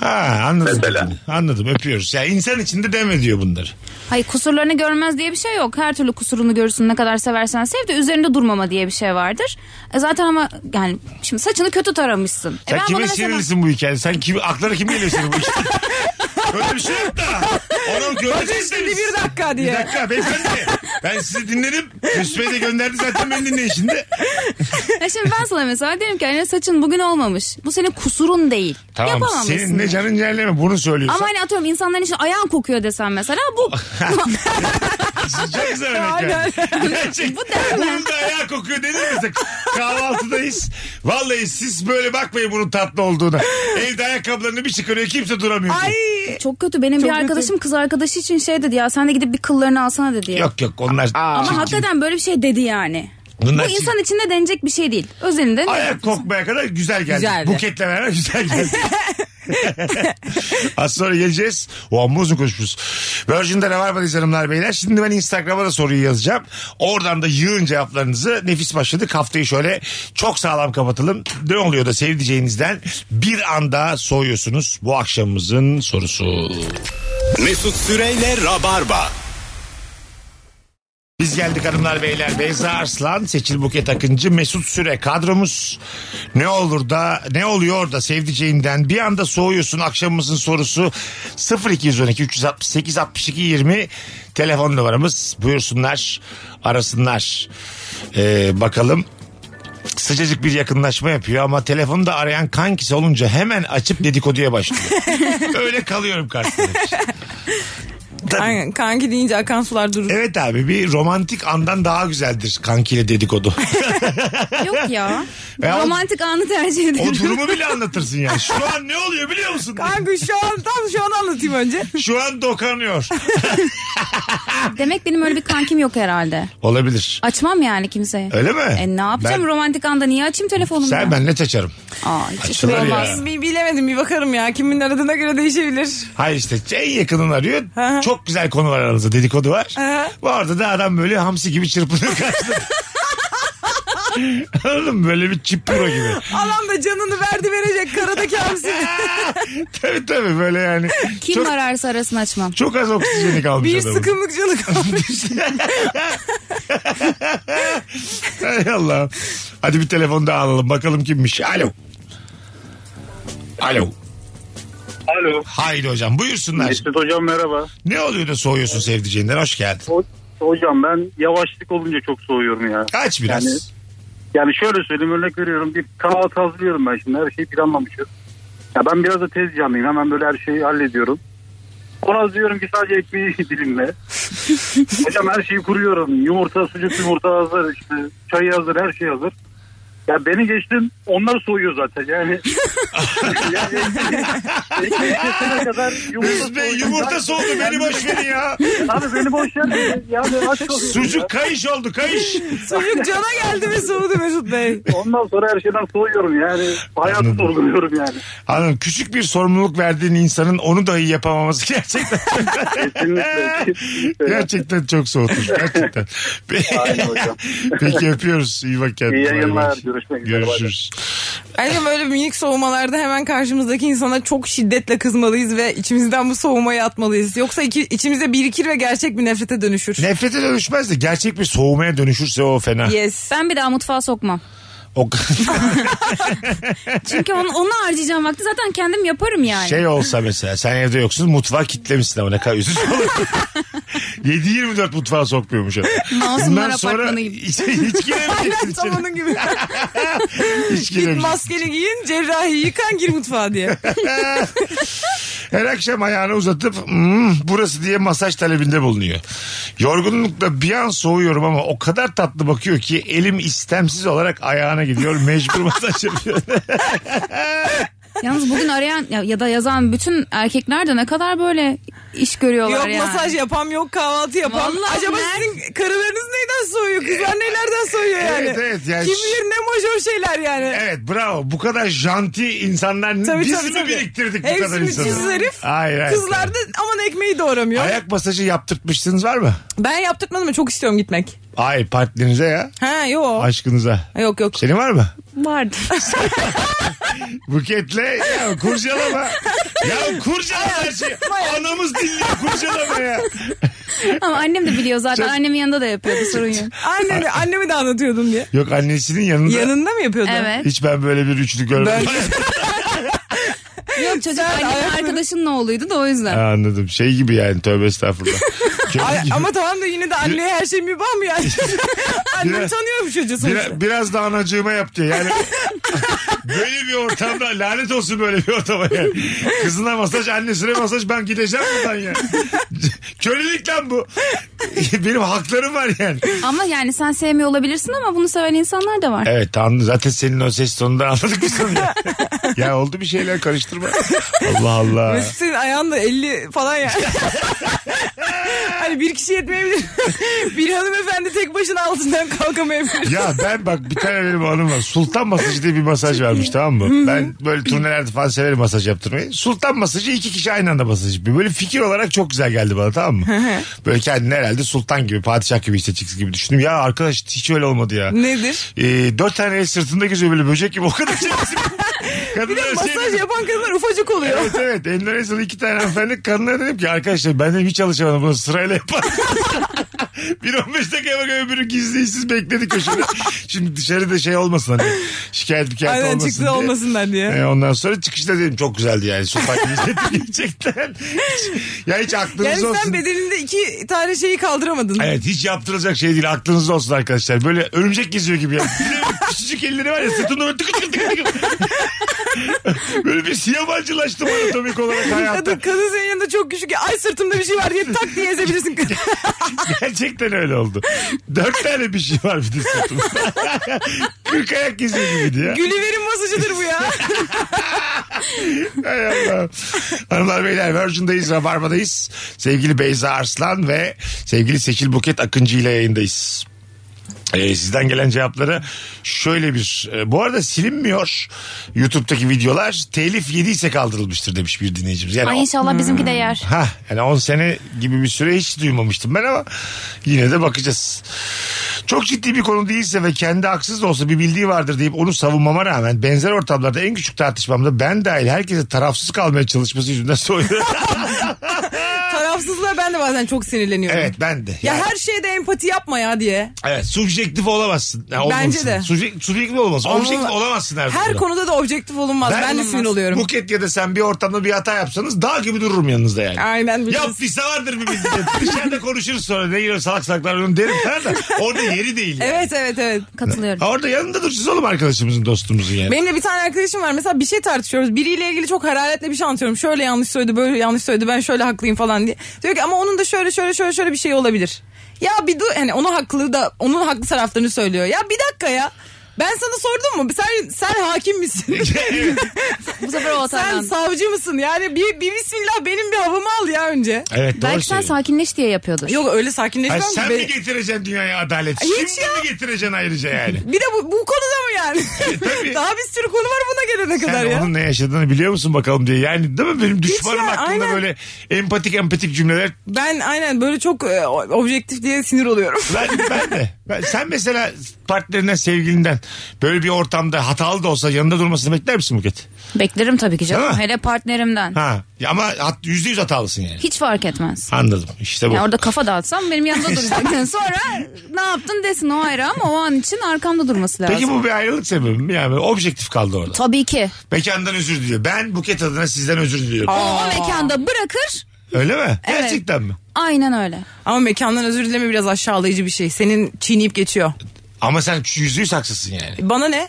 Speaker 2: Ha anladım.
Speaker 8: Mesela.
Speaker 2: Anladım öpüyoruz. Ya insan içinde deme diyor bunları.
Speaker 4: Hayır kusurlarını görmez diye bir şey yok. Her türlü kusurunu görürsün ne kadar seversen sev de üzerinde durmama diye bir şey vardır. E, zaten ama yani şimdi saçını kötü taramışsın. E,
Speaker 2: Sen
Speaker 4: ben
Speaker 2: kime
Speaker 4: bunu mesela-
Speaker 2: sinirlisin bu hikayede? Sen kim, aklına kim geliyor senin bu hikayede? Öyle bir şey yok da. Onu
Speaker 3: Hoca
Speaker 2: göreceksiniz.
Speaker 3: istedi bir dakika
Speaker 2: Bir
Speaker 3: diye.
Speaker 2: dakika beyefendi. Ben sizi dinledim. Mesut Bey de gönderdi zaten beni dinleyin şimdi.
Speaker 4: Ya E, şimdi ben sana mesela derim ki hani saçın bugün olmamış. Bu senin kusurun değil.
Speaker 2: Tamam
Speaker 4: Yapamamışsın.
Speaker 2: senin ne canın yerleme bunu söylüyorsun.
Speaker 4: Ama hani atıyorum insanların işte ayağın kokuyor desem mesela bu
Speaker 2: Ah. Çok güzel örnek
Speaker 3: Aynen.
Speaker 2: yani. Gerçek.
Speaker 4: Bu derler.
Speaker 2: Bunun da ayağı kokuyor dedin mi? sen? Kahvaltıdayız. Vallahi siz böyle bakmayın bunun tatlı olduğuna. Evde ayakkabılarını bir çıkarıyor kimse duramıyor.
Speaker 3: Ay
Speaker 4: çok kötü. Benim bir
Speaker 3: kötü.
Speaker 4: arkadaşım kız arkadaşı için şey dedi ya sen de gidip bir kıllarını alsana dedi ya.
Speaker 2: Yok yok onlar.
Speaker 4: Ama hakikaten böyle bir şey dedi yani.
Speaker 2: Bunlar
Speaker 4: Bu insan içinde denecek bir şey değil. Özelinden
Speaker 2: Ayak kokmaya kadar güzel geldi.
Speaker 3: Güzeldi.
Speaker 2: Buketle beraber güzel geldi. Az sonra geleceğiz. O amma uzun konuşmuşuz. Virgin'de ne var mı hanımlar beyler? Şimdi ben Instagram'a da soruyu yazacağım. Oradan da yığın cevaplarınızı. Nefis başladık. Haftayı şöyle çok sağlam kapatalım. Ne oluyor da sevdiceğinizden bir anda soğuyorsunuz. Bu akşamımızın sorusu.
Speaker 1: Mesut Süreyle Rabarba.
Speaker 2: Biz geldik hanımlar beyler. Beyza Arslan, Seçil Buket Akıncı, Mesut Süre kadromuz. Ne olur da ne oluyor da sevdiceğinden bir anda soğuyorsun akşamımızın sorusu 0212 368 62 20 telefon numaramız. Buyursunlar arasınlar. Ee, bakalım sıcacık bir yakınlaşma yapıyor ama telefonda arayan kankisi olunca hemen açıp dedikoduya başlıyor. Öyle kalıyorum karşısında. Tabii.
Speaker 3: Aynen, kanki deyince akan sular durur.
Speaker 2: Evet abi bir romantik andan daha güzeldir kankiyle dedikodu.
Speaker 4: şey. Yok ya.
Speaker 2: Ya o-
Speaker 4: Romantik anı tercih
Speaker 2: o
Speaker 4: ederim.
Speaker 2: durumu bile anlatırsın yani. Şu an ne oluyor biliyor musun?
Speaker 3: Kanka şu an tam şu an anlatayım önce.
Speaker 2: Şu an dokanıyor.
Speaker 4: Demek benim öyle bir kankim yok herhalde.
Speaker 2: Olabilir.
Speaker 4: Açmam yani kimseye.
Speaker 2: Öyle mi?
Speaker 4: E ne yapacağım
Speaker 2: Ben-
Speaker 4: romantik anda niye açayım telefonumu?
Speaker 2: Sen
Speaker 4: ya?
Speaker 2: ben ne çaçarım?
Speaker 4: Aa, hiç işim
Speaker 2: Açılır ya.
Speaker 4: olmaz.
Speaker 3: Bir bilemedim bir bakarım ya. Kimin aradığına göre değişebilir.
Speaker 2: Hayır işte en yakının arıyor.
Speaker 3: Hı hı.
Speaker 2: Çok güzel konu var aranızda dedikodu var.
Speaker 3: hı.
Speaker 2: Bu arada da adam böyle hamsi gibi çırpınıyor karşısında. Anladın mı? Böyle bir çipuro gibi.
Speaker 3: Alan da canını verdi verecek karadaki hamsi.
Speaker 2: tabii tabii böyle yani.
Speaker 4: Kim
Speaker 2: çok,
Speaker 4: ararsa arasını açmam.
Speaker 2: çok az oksijeni kalmış
Speaker 3: bir
Speaker 2: adamın.
Speaker 3: sıkımlık canı kalmış.
Speaker 2: Hay Allah. Hadi bir telefon daha alalım. Bakalım kimmiş. Alo. Alo.
Speaker 5: Alo.
Speaker 2: Haydi hocam buyursunlar.
Speaker 5: Mesut hocam merhaba.
Speaker 2: Ne oluyor da soğuyorsun sevdiceğinden? Hoş geldin.
Speaker 5: Ho- hocam ben yavaşlık olunca çok soğuyorum ya.
Speaker 2: Kaç biraz.
Speaker 5: Yani- Yani şöyle söyleyeyim örnek veriyorum. Bir kahvaltı hazırlıyorum ben şimdi. Her şeyi planlamışız. Ya ben biraz da tez canlıyım. Hemen böyle her şeyi hallediyorum. Ona diyorum ki sadece ekmeği dilimle. Hocam her şeyi kuruyorum. Yumurta, sucuk yumurta hazır. işte çayı hazır, her şey hazır. Ya beni geçtim. Onlar soğuyor zaten. Yani, yani ekmeği kesene kadar
Speaker 2: Mesut Bey
Speaker 5: soğuyor.
Speaker 2: yumurta soğudu beni boş verin ya.
Speaker 5: Abi beni boş ver. Yani aç kalıyorum ya.
Speaker 2: Sucuk kayış oldu kayış.
Speaker 3: Çocuk cana geldi ve soğudu Mesut Bey.
Speaker 5: Ondan sonra her şeyden soğuyorum yani. Hayatı
Speaker 2: Anladım.
Speaker 5: sorguluyorum yani.
Speaker 2: Hanım küçük bir sorumluluk verdiğin insanın onu dahi yapamaması gerçekten.
Speaker 5: Kesinlikle. kesinlikle.
Speaker 2: gerçekten çok soğutmuş gerçekten.
Speaker 5: Aynen hocam.
Speaker 2: Peki öpüyoruz. İyi bak kendine.
Speaker 5: İyi yayınlar.
Speaker 2: Bay bay.
Speaker 5: Görüşmek üzere.
Speaker 2: Görüşürüz.
Speaker 3: Ayrıca böyle minik soğumalarda hemen karşımızdaki insana çok şiddetle kızmalıyız ve içimizden bu soğumayı atmalıyız. Yoksa iki, içimize birikir ve gerçek bir nefrete dönüşür.
Speaker 2: Nefrete dönüşmez de gerçek bir soğumaya dönüşürse o fena.
Speaker 3: Yes.
Speaker 4: Ben bir daha mutfağa sokmam.
Speaker 2: O
Speaker 4: Çünkü onu, onu harcayacağım vakti zaten kendim yaparım yani.
Speaker 2: şey olsa mesela sen evde yoksun mutfağı kitlemişsin ama ne kadar üzücü olur. 7-24 mutfağa sokmuyormuş adam.
Speaker 4: Masumlar
Speaker 2: Bundan
Speaker 4: apartmanı
Speaker 2: sonra
Speaker 4: gibi.
Speaker 2: hiç, hiç giremeyeceksin
Speaker 3: Aynen tam
Speaker 2: içeri.
Speaker 3: onun gibi.
Speaker 2: Hiç
Speaker 3: Git
Speaker 2: giremeyeceksin.
Speaker 3: maskeni giyin, cerrahi yıkan gir mutfağa diye.
Speaker 2: Her akşam ayağını uzatıp "Hmm, burası diye masaj talebinde bulunuyor. Yorgunlukla bir an soğuyorum ama o kadar tatlı bakıyor ki elim istemsiz olarak ayağına gidiyor. Mecbur masaj yapıyor.
Speaker 4: Yalnız bugün arayan ya, ya da yazan bütün erkekler de ne kadar böyle iş görüyorlar
Speaker 3: yok
Speaker 4: yani.
Speaker 3: masaj yapan, yok kahvaltı yapan.
Speaker 4: Vallahi
Speaker 3: Acaba
Speaker 4: ben-
Speaker 3: sizin karılarınız neyden soğuyor? Kızlar nelerden soğuyor yani?
Speaker 2: Evet, evet, yani
Speaker 3: Kim
Speaker 2: ş-
Speaker 3: bilir ne majör şeyler yani.
Speaker 2: evet bravo. Bu kadar janti insanlar
Speaker 3: Tabii,
Speaker 2: biz
Speaker 3: tabii,
Speaker 2: mi
Speaker 3: tabii.
Speaker 2: biriktirdik bu
Speaker 3: Hepsi
Speaker 2: kadar
Speaker 3: müthiş
Speaker 2: insanı?
Speaker 3: herif.
Speaker 2: Hayır, hayır.
Speaker 3: Kızlar da aman ekmeği doğramıyor.
Speaker 2: Ayak masajı yaptırtmışsınız var mı?
Speaker 3: Ben yaptırtmadım ama çok istiyorum gitmek.
Speaker 2: Ay partnerinize ya.
Speaker 3: Ha yok.
Speaker 2: Aşkınıza.
Speaker 3: Yok yok.
Speaker 2: Senin var mı?
Speaker 4: Vardı.
Speaker 2: Buketle ya kurcalama. Ya kurcalama her şeyi. Anamız dinliyor kurcalama ya.
Speaker 4: Ama annem de biliyor zaten. Annemin yanında da yapıyordu sorun yok.
Speaker 3: Annemi, annemi de anlatıyordum diye.
Speaker 2: Yok annesinin yanında.
Speaker 3: Yanında mı yapıyordun?
Speaker 4: Evet.
Speaker 2: Hiç ben böyle bir üçlü görmedim.
Speaker 3: Ben-
Speaker 4: Yok çocuk annenin arkadaşının oğluydu da o yüzden.
Speaker 2: Ha, anladım. Şey gibi yani tövbe estağfurullah. Köylü
Speaker 3: Ay,
Speaker 2: gibi.
Speaker 3: ama tamam da yine de anneye her şey mübah mı yani? Annem
Speaker 2: Biraz-
Speaker 3: tanıyormuş çocuğu
Speaker 2: Bira-
Speaker 3: sonuçta.
Speaker 2: biraz da anacığıma yap diyor. Yani böyle bir ortamda lanet olsun böyle bir ortama yani. Kızına masaj annesine masaj ben gideceğim buradan yani. Kölelik lan bu. Benim haklarım var yani.
Speaker 4: Ama yani sen sevmiyor olabilirsin ama bunu seven insanlar da var.
Speaker 2: Evet anladım. Zaten senin o ses tonunda anladık biz onu ya. ya oldu bir şeyler karıştırma. Allah Allah.
Speaker 3: Mesut senin ayağın da 50 falan yani. hani bir kişi yetmeyebilir. bir hanımefendi tek başına altından kalkamayabilir.
Speaker 2: Ya ben bak bir tane benim hanım var. Sultan masajı diye bir masaj vermiş tamam mı? Ben böyle turnelerde falan severim masaj yaptırmayı. Sultan masajı iki kişi aynı anda masaj yapıyor. Böyle fikir olarak çok güzel geldi bana tamam mı? böyle kendini herhalde sultan gibi padişah gibi işte çıksın gibi düşündüm. Ya arkadaş hiç öyle olmadı ya.
Speaker 3: Nedir?
Speaker 2: Ee, dört tane el sırtında geziyor böyle böcek gibi o kadar şey.
Speaker 3: Bir de masaj yapan kadınlar ufacık oluyor.
Speaker 2: Evet evet. Endonezya'da iki tane hanımefendi kadınlara dedim ki arkadaşlar ben dedim hiç alışamadım bunu sırayla yapar. Bir 15 dakika bak öbürü gizli işsiz bekledi köşede. Şimdi dışarıda şey olmasın hani şikayet bir
Speaker 3: Aynen
Speaker 2: olmasın
Speaker 3: çıktı
Speaker 2: diye.
Speaker 3: olmasınlar diye.
Speaker 2: Ee, ondan sonra çıkışta dedim çok güzeldi yani. Sopa izledim gerçekten. Hiç- ya hiç aklınız
Speaker 3: Yani
Speaker 2: olsun.
Speaker 3: sen bedeninde iki tane şeyi kaldıramadın.
Speaker 2: Evet hiç yaptırılacak şey değil. Aklınızda olsun arkadaşlar. Böyle örümcek geziyor gibi ya. Bir de böyle küçücük elleri var ya sırtında böyle tıkı tıkı tıkı tıkı. böyle bir siyabancılaştım anatomik olarak hayatta.
Speaker 3: Kadın, kadın senin yanında çok küçük. Ay sırtımda bir şey var diye tak diye ezebilirsin.
Speaker 2: Gerçekten öyle oldu. Dört tane bir şey var bir de sırtımda. Kırk ayak geziyor gibiydi ya.
Speaker 3: Gülüver'in masajıdır bu ya.
Speaker 2: Hay Allah. Hanımlar beyler Virgin'dayız, Rabarba'dayız. Sevgili Beyza Arslan ve sevgili Seçil Buket Akıncı ile yayındayız. Ee, sizden gelen cevapları şöyle bir... e, bu arada silinmiyor YouTube'daki videolar. Telif yediyse kaldırılmıştır demiş bir dinleyicimiz. Yani
Speaker 4: Ay inşallah bizimki de yer.
Speaker 2: Ha, yani 10 sene gibi bir süre hiç duymamıştım ben ama yine de bakacağız. Çok ciddi bir konu değilse ve kendi haksız da olsa bir bildiği vardır deyip onu savunmama rağmen benzer ortamlarda en küçük tartışmamda ben dahil herkese tarafsız kalmaya çalışması yüzünden soyuyor.
Speaker 3: Tarafsızlığa ben de bazen çok sinirleniyorum.
Speaker 2: evet ben de.
Speaker 3: Ya
Speaker 2: Yani-
Speaker 3: her şeyde empati yapma ya diye.
Speaker 2: Evet subjektif olamazsın. Ya,
Speaker 3: Bence
Speaker 2: olmalısın.
Speaker 3: de.
Speaker 2: Subjek- subjektif olamazsın.
Speaker 3: Olma-
Speaker 2: Objektif olamazsın her,
Speaker 3: Her
Speaker 2: konuda.
Speaker 3: konuda da objektif olunmaz. Ben, de sinir oluyorum.
Speaker 2: Buket ya da sen bir ortamda bir hata yapsanız dağ gibi dururum yanınızda yani.
Speaker 3: Aynen biliriz.
Speaker 2: Yaptıysa vardır bir bildiğin. Dışarıda konuşuruz sonra. Ne yiyor salak salaklar onu derim falan da. Orada yeri değil. Yani.
Speaker 3: Evet evet evet.
Speaker 4: Katılıyorum.
Speaker 2: Ha, Orada yanında duracağız oğlum arkadaşımızın dostumuzun yani.
Speaker 3: Benim de bir tane arkadaşım var. Mesela bir şey tartışıyoruz. Biriyle ilgili çok hararetle bir şey anlatıyorum. Şöyle yanlış söyledi, böyle yanlış söyledi. Ben şöyle haklıyım falan diye. Diyor ki ama onun da şöyle şöyle şöyle şöyle bir şey olabilir. Ya bir dur hani onun haklı da onun haklı taraflarını söylüyor. Ya bir dakika ya. Ben sana sordum mu? Sen sen hakim misin?
Speaker 2: Evet.
Speaker 4: Bu sefer o
Speaker 3: sen
Speaker 4: hatadan.
Speaker 3: savcı mısın? Yani bir, bir bismillah benim bir havamı al ya önce.
Speaker 2: evet doğru
Speaker 4: Belki sen
Speaker 2: söylüyorsun.
Speaker 4: sakinleş diye yapıyordur.
Speaker 3: Yok öyle
Speaker 2: Hayır,
Speaker 3: sakinleşmem ki.
Speaker 2: sen
Speaker 3: Be-
Speaker 2: mi getireceksin dünyaya adalet?
Speaker 3: Hiç
Speaker 2: Şimdi
Speaker 3: ya.
Speaker 2: mi getireceksin ayrıca yani?
Speaker 3: Bir de bu, bu konuda mı yani?
Speaker 2: E, tabii.
Speaker 3: Daha bir sürü konu var buna gelene kadar
Speaker 2: Sen
Speaker 3: ya.
Speaker 2: onun ne yaşadığını biliyor musun bakalım diye. Yani değil mi benim düşmanım
Speaker 3: ya,
Speaker 2: hakkında
Speaker 3: aynen.
Speaker 2: böyle empatik empatik cümleler
Speaker 3: Ben aynen böyle çok e, objektif diye sinir oluyorum.
Speaker 2: Ben, ben de. Ben- sen mesela partnerinden, sevgilinden böyle bir ortamda hatalı da olsa yanında durmasını bekler misin Buket?
Speaker 4: Beklerim tabii ki canım.
Speaker 2: Değil mi?
Speaker 4: Hele partnerimden.
Speaker 2: Ha. Ya Ama hat- yüzde yüz hatalısın yani.
Speaker 4: Hiç fark etmez.
Speaker 2: Anladım. İşte bu.
Speaker 4: Yani orada kafa dağıtsam benim yanımda duracak. Yani Sonra ne yaptın desin o ayrı ama o an için arkamda durması lazım.
Speaker 2: Peki bu bir ayrılık sebebi mi? Yani böyle objektif kaldı orada.
Speaker 4: Tabii ki.
Speaker 2: Mekandan özür diliyor. Ben Buket adına sizden özür diliyorum.
Speaker 4: O, o mekanda bırakır.
Speaker 2: Öyle mi?
Speaker 4: Evet.
Speaker 2: Gerçekten mi?
Speaker 4: Aynen öyle.
Speaker 3: Ama mekandan özür dileme biraz aşağılayıcı bir şey. Senin çiğneyip geçiyor.
Speaker 2: Ama sen yüzde yüz haksızsın yani.
Speaker 3: Bana ne?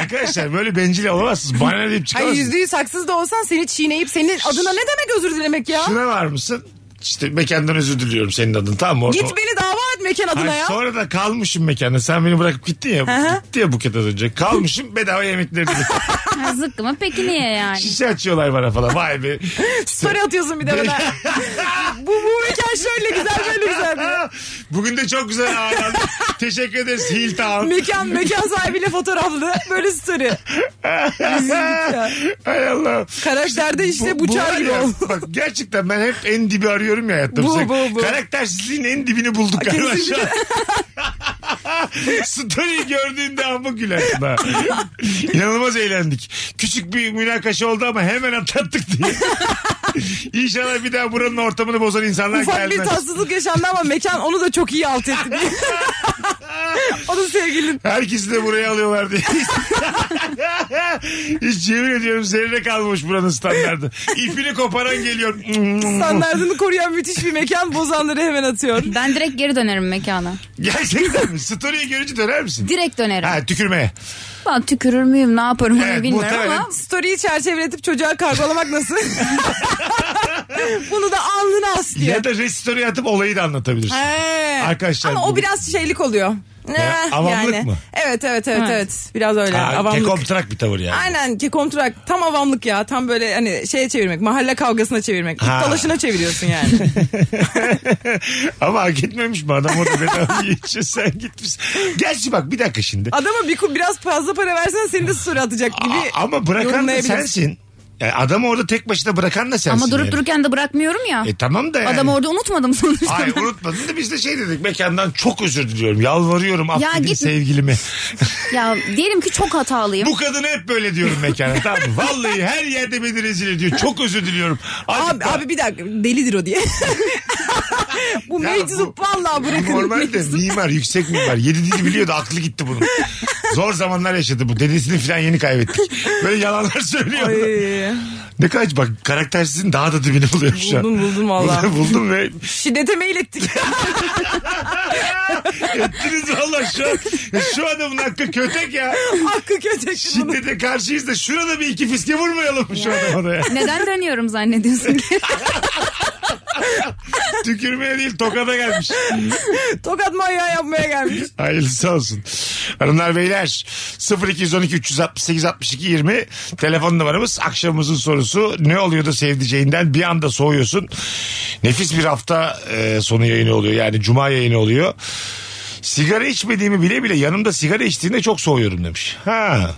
Speaker 2: Arkadaşlar böyle bencil olamazsınız. Bana ne deyip
Speaker 3: Hayır
Speaker 2: çıkamazsınız.
Speaker 3: yüzde yüz haksız da olsan seni çiğneyip senin adına ne demek özür dilemek ya?
Speaker 2: Şuna var mısın? İşte mekandan özür diliyorum senin adın tamam mı? Orada-
Speaker 3: Git beni dava et mekan adına
Speaker 2: Ay,
Speaker 3: ya.
Speaker 2: Sonra da kalmışım mekanda. Sen beni bırakıp gittin ya.
Speaker 3: hı.
Speaker 2: gitti ya Buket az önce. Kalmışım bedava yemekleri. yedim.
Speaker 4: Ha, Zıkkımı peki niye yani?
Speaker 2: Şişe açıyorlar bana falan. Vay be.
Speaker 3: Story atıyorsun bir de bana. bu, bu mekan şöyle güzel böyle güzel diye.
Speaker 2: Bugün de çok güzel ağırlandı. Teşekkür ederiz Hilltown.
Speaker 3: Mekan, mekan sahibiyle fotoğraflı böyle story.
Speaker 2: Hay Allah.
Speaker 3: Karakterde işte bıçağı
Speaker 2: var
Speaker 3: gibi
Speaker 2: ya,
Speaker 3: ol.
Speaker 2: Bak gerçekten ben hep en dibi arıyorum ya hayatta.
Speaker 3: Bu,
Speaker 2: Mesela
Speaker 3: bu, bu.
Speaker 2: Karaktersizliğin en dibini bulduk galiba şu an. Story'yi gördüğünde ama gülersin ha. İnanılmaz eğlendik. Küçük bir münakaşa oldu ama hemen atlattık diye. İnşallah bir daha buranın ortamını bozan insanlar
Speaker 3: Ufak bir
Speaker 2: gelmez.
Speaker 3: tatsızlık yaşandı ama mekan onu da çok iyi alt etti diye. o da sevgilin.
Speaker 2: Herkesi de buraya alıyorlar diye. Hiç yemin ediyorum zerre kalmamış buranın standardı. İpini koparan geliyor.
Speaker 3: Standartını koruyan müthiş bir mekan bozanları hemen atıyor.
Speaker 4: Ben direkt geri dönerim mekana.
Speaker 2: Gerçekten mi? Story'yi görünce döner misin?
Speaker 4: Direkt dönerim.
Speaker 2: Ha tükürmeye.
Speaker 4: Ben tükürür müyüm ne yaparım onu
Speaker 2: Evet,
Speaker 4: bilmiyorum
Speaker 2: muhtemelen.
Speaker 4: ama.
Speaker 3: Story'yi çerçeveletip çocuğa kargolamak nasıl? Bunu da alnına as diye.
Speaker 2: Ya da restory atıp olayı da anlatabilirsin.
Speaker 3: He.
Speaker 2: Arkadaşlar
Speaker 3: Ama
Speaker 2: bu-
Speaker 3: o biraz şeylik oluyor. Eh,
Speaker 2: avamlık mı?
Speaker 3: Evet evet evet
Speaker 4: Evet.
Speaker 3: evet. Biraz öyle
Speaker 2: Ha,
Speaker 3: avamlık.
Speaker 2: kekomtrak bir tavır yani.
Speaker 3: Aynen kekomtrak tam avamlık ya. Tam böyle hani şeye çevirmek. Mahalle kavgasına çevirmek. İp
Speaker 2: Ha.
Speaker 3: dalaşına çeviriyorsun yani.
Speaker 2: Ama hak etmemiş mi adam orada bedava yiyince sen gitmişsin. Gerçi bak bir dakika şimdi.
Speaker 3: Adama bir, ku- biraz fazla para versen seni de story atacak gibi.
Speaker 2: Aa, ama bırakan da
Speaker 3: yorumlayabiliriz.
Speaker 2: sensin. Yani adamı orada tek başına bırakan da sensin.
Speaker 4: Ama durup
Speaker 2: yani.
Speaker 4: dururken de bırakmıyorum ya.
Speaker 2: E tamam da yani.
Speaker 4: Adamı orada unutmadım sonuçta.
Speaker 2: Hayır unutmadın da biz de şey dedik mekandan çok özür diliyorum. Yalvarıyorum affedin
Speaker 4: git-
Speaker 2: sevgilimi.
Speaker 4: ya diyelim ki çok hatalıyım.
Speaker 2: Bu kadını hep böyle diyorum mekana tamam mı? Vallahi her yerde beni rezil ediyor. Çok özür diliyorum. Azıcık
Speaker 3: Abi,
Speaker 2: daha-
Speaker 3: abi bir dakika delidir o diye. bu
Speaker 2: Ya
Speaker 3: meczup
Speaker 2: bu-
Speaker 3: vallahi bırakın.
Speaker 2: Normal de mimar yüksek mimar. Yedi dil biliyordu aklı gitti bunun. Zor zamanlar yaşadı bu. Dedesini falan yeni kaybettik. Böyle yalanlar söylüyor.
Speaker 3: Ay,
Speaker 2: Ne kaç bak karaktersizin daha da dibini buluyorum şu an.
Speaker 3: Buldum, buldum valla.
Speaker 2: Buldum, buldum ve
Speaker 3: Şiddete mail ettik.
Speaker 2: ettiniz valla şu an. Şu adamın hakkı kötek ya.
Speaker 3: Hakkı köçek bunu.
Speaker 2: Şiddete karşıyız da şurada bir iki fiske vurmayalım şu adama da ya.
Speaker 4: Neden dönüyorum zannediyorsun ki?
Speaker 2: Tükürmeye değil tokada gelmiş.
Speaker 3: Tokat manyağı yapmaya gelmiş.
Speaker 2: Hayırlısı olsun. Hanımlar beyler 0212 368 62 20 telefon numaramız. Akşamımızın sorusu ne oluyor da sevdiceğinden bir anda soğuyorsun. Nefis bir hafta e, sonu yayını oluyor yani cuma yayını oluyor. Sigara içmediğimi bile bile yanımda sigara içtiğinde çok soğuyorum demiş. Ha.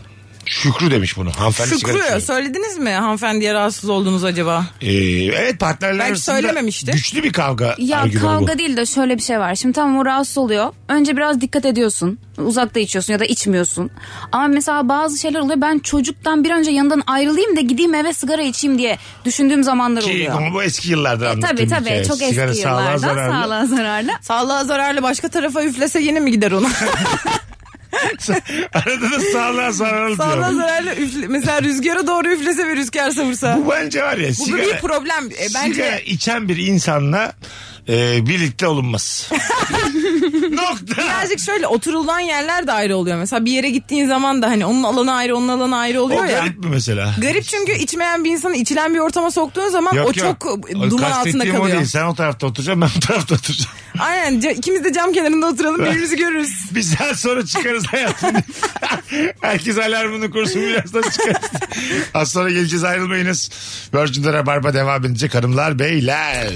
Speaker 2: Şükrü demiş bunu. Hanımefendi sigara
Speaker 3: Şükrü
Speaker 2: içmiyor.
Speaker 3: söylediniz mi hanımefendiye rahatsız oldunuz acaba?
Speaker 2: Ee, evet partnerler
Speaker 3: Belki
Speaker 2: arasında
Speaker 3: söylememişti.
Speaker 2: güçlü bir kavga
Speaker 4: Ya
Speaker 2: argümanı bu.
Speaker 4: kavga değil de şöyle bir şey var. Şimdi tamam o rahatsız oluyor. Önce biraz dikkat ediyorsun. Uzakta içiyorsun ya da içmiyorsun. Ama mesela bazı şeyler oluyor. Ben çocuktan bir önce yanından ayrılayım da gideyim eve sigara içeyim diye düşündüğüm zamanlar
Speaker 2: Ki,
Speaker 4: oluyor.
Speaker 2: ama bu eski yıllarda
Speaker 4: E,
Speaker 2: anlattığım
Speaker 4: tabii tabii
Speaker 2: hikaye.
Speaker 4: çok eski
Speaker 2: Sigara sağlığa
Speaker 4: yıllardan
Speaker 2: zararlı.
Speaker 4: sağlığa zararlı.
Speaker 3: Sağlığa zararlı başka tarafa üflese yine mi gider ona?
Speaker 2: Arada da sağlığa zararlı
Speaker 3: Sağlığa
Speaker 2: diyor.
Speaker 3: zararlı üfle, mesela rüzgara doğru üflese ve rüzgar savursa.
Speaker 2: Bu bence var ya
Speaker 3: Bu
Speaker 2: sigara,
Speaker 3: bir problem. E,
Speaker 2: sigara
Speaker 3: bence
Speaker 2: içen bir insanla e, birlikte olunmaz. Nokta.
Speaker 3: birazcık şöyle oturulan yerler de ayrı oluyor. Mesela bir yere gittiğin zaman da hani onun alanı ayrı onun alanı ayrı
Speaker 2: O
Speaker 3: oluyor ya.
Speaker 2: garip mi mesela?
Speaker 3: Garip çünkü içmeyen bir insanı içilen bir ortama soktuğun zaman
Speaker 2: Yok,
Speaker 3: o
Speaker 2: yok.
Speaker 3: çok e,
Speaker 2: O
Speaker 3: duman altında
Speaker 2: kastettiğim o
Speaker 3: kalıyor.
Speaker 2: değil. Sen o tarafta oturacaksın ben bu tarafta oturacağım.
Speaker 3: Aynen ca- ikimiz de cam kenarında oturalım birbirimizi görürüz.
Speaker 2: Bir saat sonra çıkarız hayatım. Herkes alarmını kursun birazdan çıkarız. Az sonra geleceğiz ayrılmayınız. Virgin'de Rabarba devam edecek hanımlar beyler.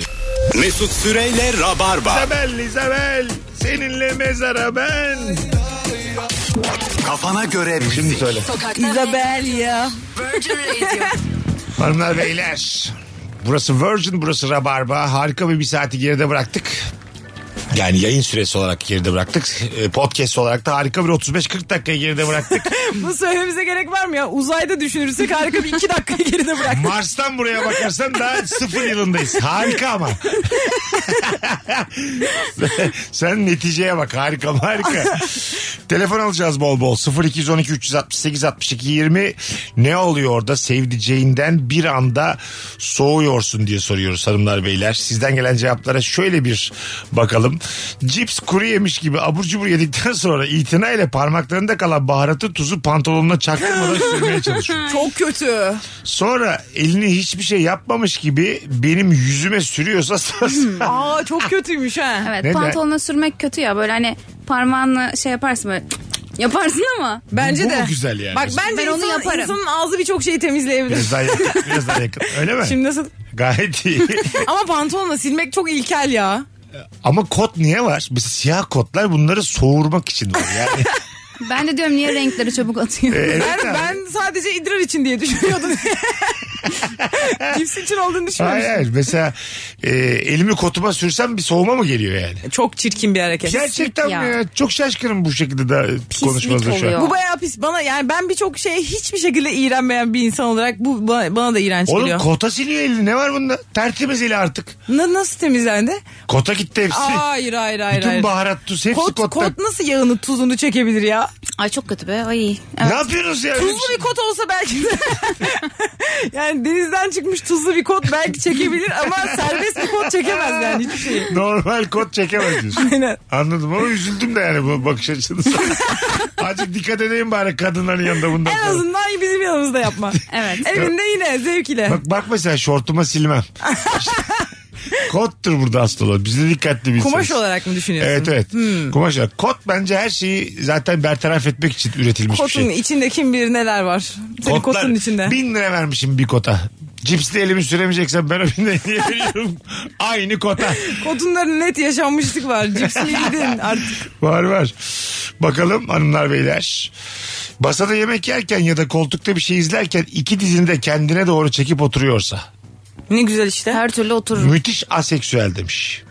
Speaker 1: Mesut Süreyle Rabarba.
Speaker 2: İzabel İzabel seninle mezara ben.
Speaker 1: Kafana göre
Speaker 2: Şimdi söyle.
Speaker 3: Isabel ya.
Speaker 2: Hanımlar beyler. Burası Virgin, burası Rabarba. Harika bir bir saati geride bıraktık. Yani yayın süresi olarak geride bıraktık. E, Podcast olarak da harika bir 35-40 dakikayı geride bıraktık.
Speaker 3: Bu söylememize gerek var mı ya? Uzayda düşünürsek harika bir iki dakika geride bırak.
Speaker 2: Mars'tan buraya bakarsan daha sıfır yılındayız. Harika ama. Sen neticeye bak harika mı? harika. Telefon alacağız bol bol 0212 368 62 20 ne oluyor orada sevdiceğinden bir anda soğuyorsun diye soruyoruz hanımlar beyler. Sizden gelen cevaplara şöyle bir bakalım. Cips kuru yemiş gibi abur cubur yedikten sonra itina ile parmaklarında kalan baharatı tuzu pantolonuna çaktırmadan sürmeye çalışıyor.
Speaker 3: Çok kötü.
Speaker 2: Sonra elini hiçbir şey yapmamış gibi benim yüzüme sürüyorsa
Speaker 3: Aa çok kötüymüş ha.
Speaker 4: Evet
Speaker 2: Neden?
Speaker 4: pantolona sürmek kötü ya. Böyle hani parmağınla şey yaparsın böyle cık cık yaparsın ama.
Speaker 3: Bence
Speaker 2: Bu
Speaker 3: de.
Speaker 2: mu güzel yani?
Speaker 3: Bak bence
Speaker 4: Ben onu
Speaker 3: insanın,
Speaker 4: yaparım.
Speaker 3: insanın ağzı birçok şeyi temizleyebilir.
Speaker 2: biraz daha yakın. Biraz daha yakın. Öyle mi?
Speaker 3: Şimdi nasıl?
Speaker 2: Gayet iyi.
Speaker 3: Ama pantolonla silmek çok ilkel ya.
Speaker 2: Ama kot niye var? Mesela siyah kotlar bunları soğurmak için var. Yani,
Speaker 4: Ben de diyorum niye renkleri çabuk atıyor.
Speaker 2: Evet
Speaker 3: ben,
Speaker 2: abi.
Speaker 3: ben sadece idrar için diye düşünüyordum. Cips için olduğunu düşünmemiştim.
Speaker 2: Hayır hayır. Mesela e, elimi kotuma sürsem bir soğuma mı geliyor yani?
Speaker 3: Çok çirkin bir hareket.
Speaker 2: Gerçekten
Speaker 4: ya.
Speaker 2: mi ya? Çok şaşkınım bu şekilde da konuşmanızda şu an.
Speaker 4: oluyor.
Speaker 3: Bu bayağı pis. Bana yani ben birçok şeye hiçbir şekilde iğrenmeyen bir insan olarak bu bana, bana da iğrenç
Speaker 2: Oğlum
Speaker 3: geliyor.
Speaker 2: kota siliyor elini. Ne var bunda? Tertemiz eli artık.
Speaker 3: Na- nasıl temizlendi?
Speaker 2: Kota gitti hepsi.
Speaker 3: Hayır hayır hayır.
Speaker 2: Bütün
Speaker 3: hayır.
Speaker 2: baharat tuz hepsi
Speaker 3: Kot,
Speaker 2: kotta.
Speaker 3: kot nasıl yağını tuzunu çekebilir ya?
Speaker 4: Ay çok kötü be. Ay.
Speaker 2: Ne yapıyorsunuz ya?
Speaker 3: Tuzlu bir kot olsa belki de. yani denizden çıkmış tuzlu bir kot belki çekebilir ama serbest bir kot çekemez yani hiçbir şey. şeyi.
Speaker 2: Normal kot çekemez diyorsun.
Speaker 3: Aynen.
Speaker 2: Anladım ama üzüldüm de yani bu bakış açınıza. Azıcık dikkat edeyim bari kadınların yanında bundan
Speaker 3: En
Speaker 2: sonra.
Speaker 3: azından bizim yanımızda yapma.
Speaker 4: Evet.
Speaker 3: Evinde yine zevkle.
Speaker 2: Bak, bak mesela şortuma silmem. Kottur burada asıl olan. Biz de dikkatli bir
Speaker 3: Kumaş
Speaker 2: insanız.
Speaker 3: olarak mı düşünüyorsun? Hmm.
Speaker 2: Evet evet. Kumaş olarak. Kot bence her şeyi zaten bertaraf etmek için üretilmiş bir
Speaker 3: Kotun
Speaker 2: şey.
Speaker 3: içinde kim bilir neler var. Senin
Speaker 2: Kotlar-
Speaker 3: kotun içinde.
Speaker 2: Bin lira vermişim bir kota. Cipsli elimi süremeyeceksem ben o bin lirayı niye veriyorum? Aynı kota.
Speaker 3: Kotunların net yaşanmışlık var. Cipsiye gidin artık.
Speaker 2: Var var. Bakalım hanımlar beyler. Masada yemek yerken ya da koltukta bir şey izlerken iki dizini de kendine doğru çekip oturuyorsa.
Speaker 3: Ne güzel işte.
Speaker 4: Her türlü otururum.
Speaker 2: Müthiş aseksüel demiş.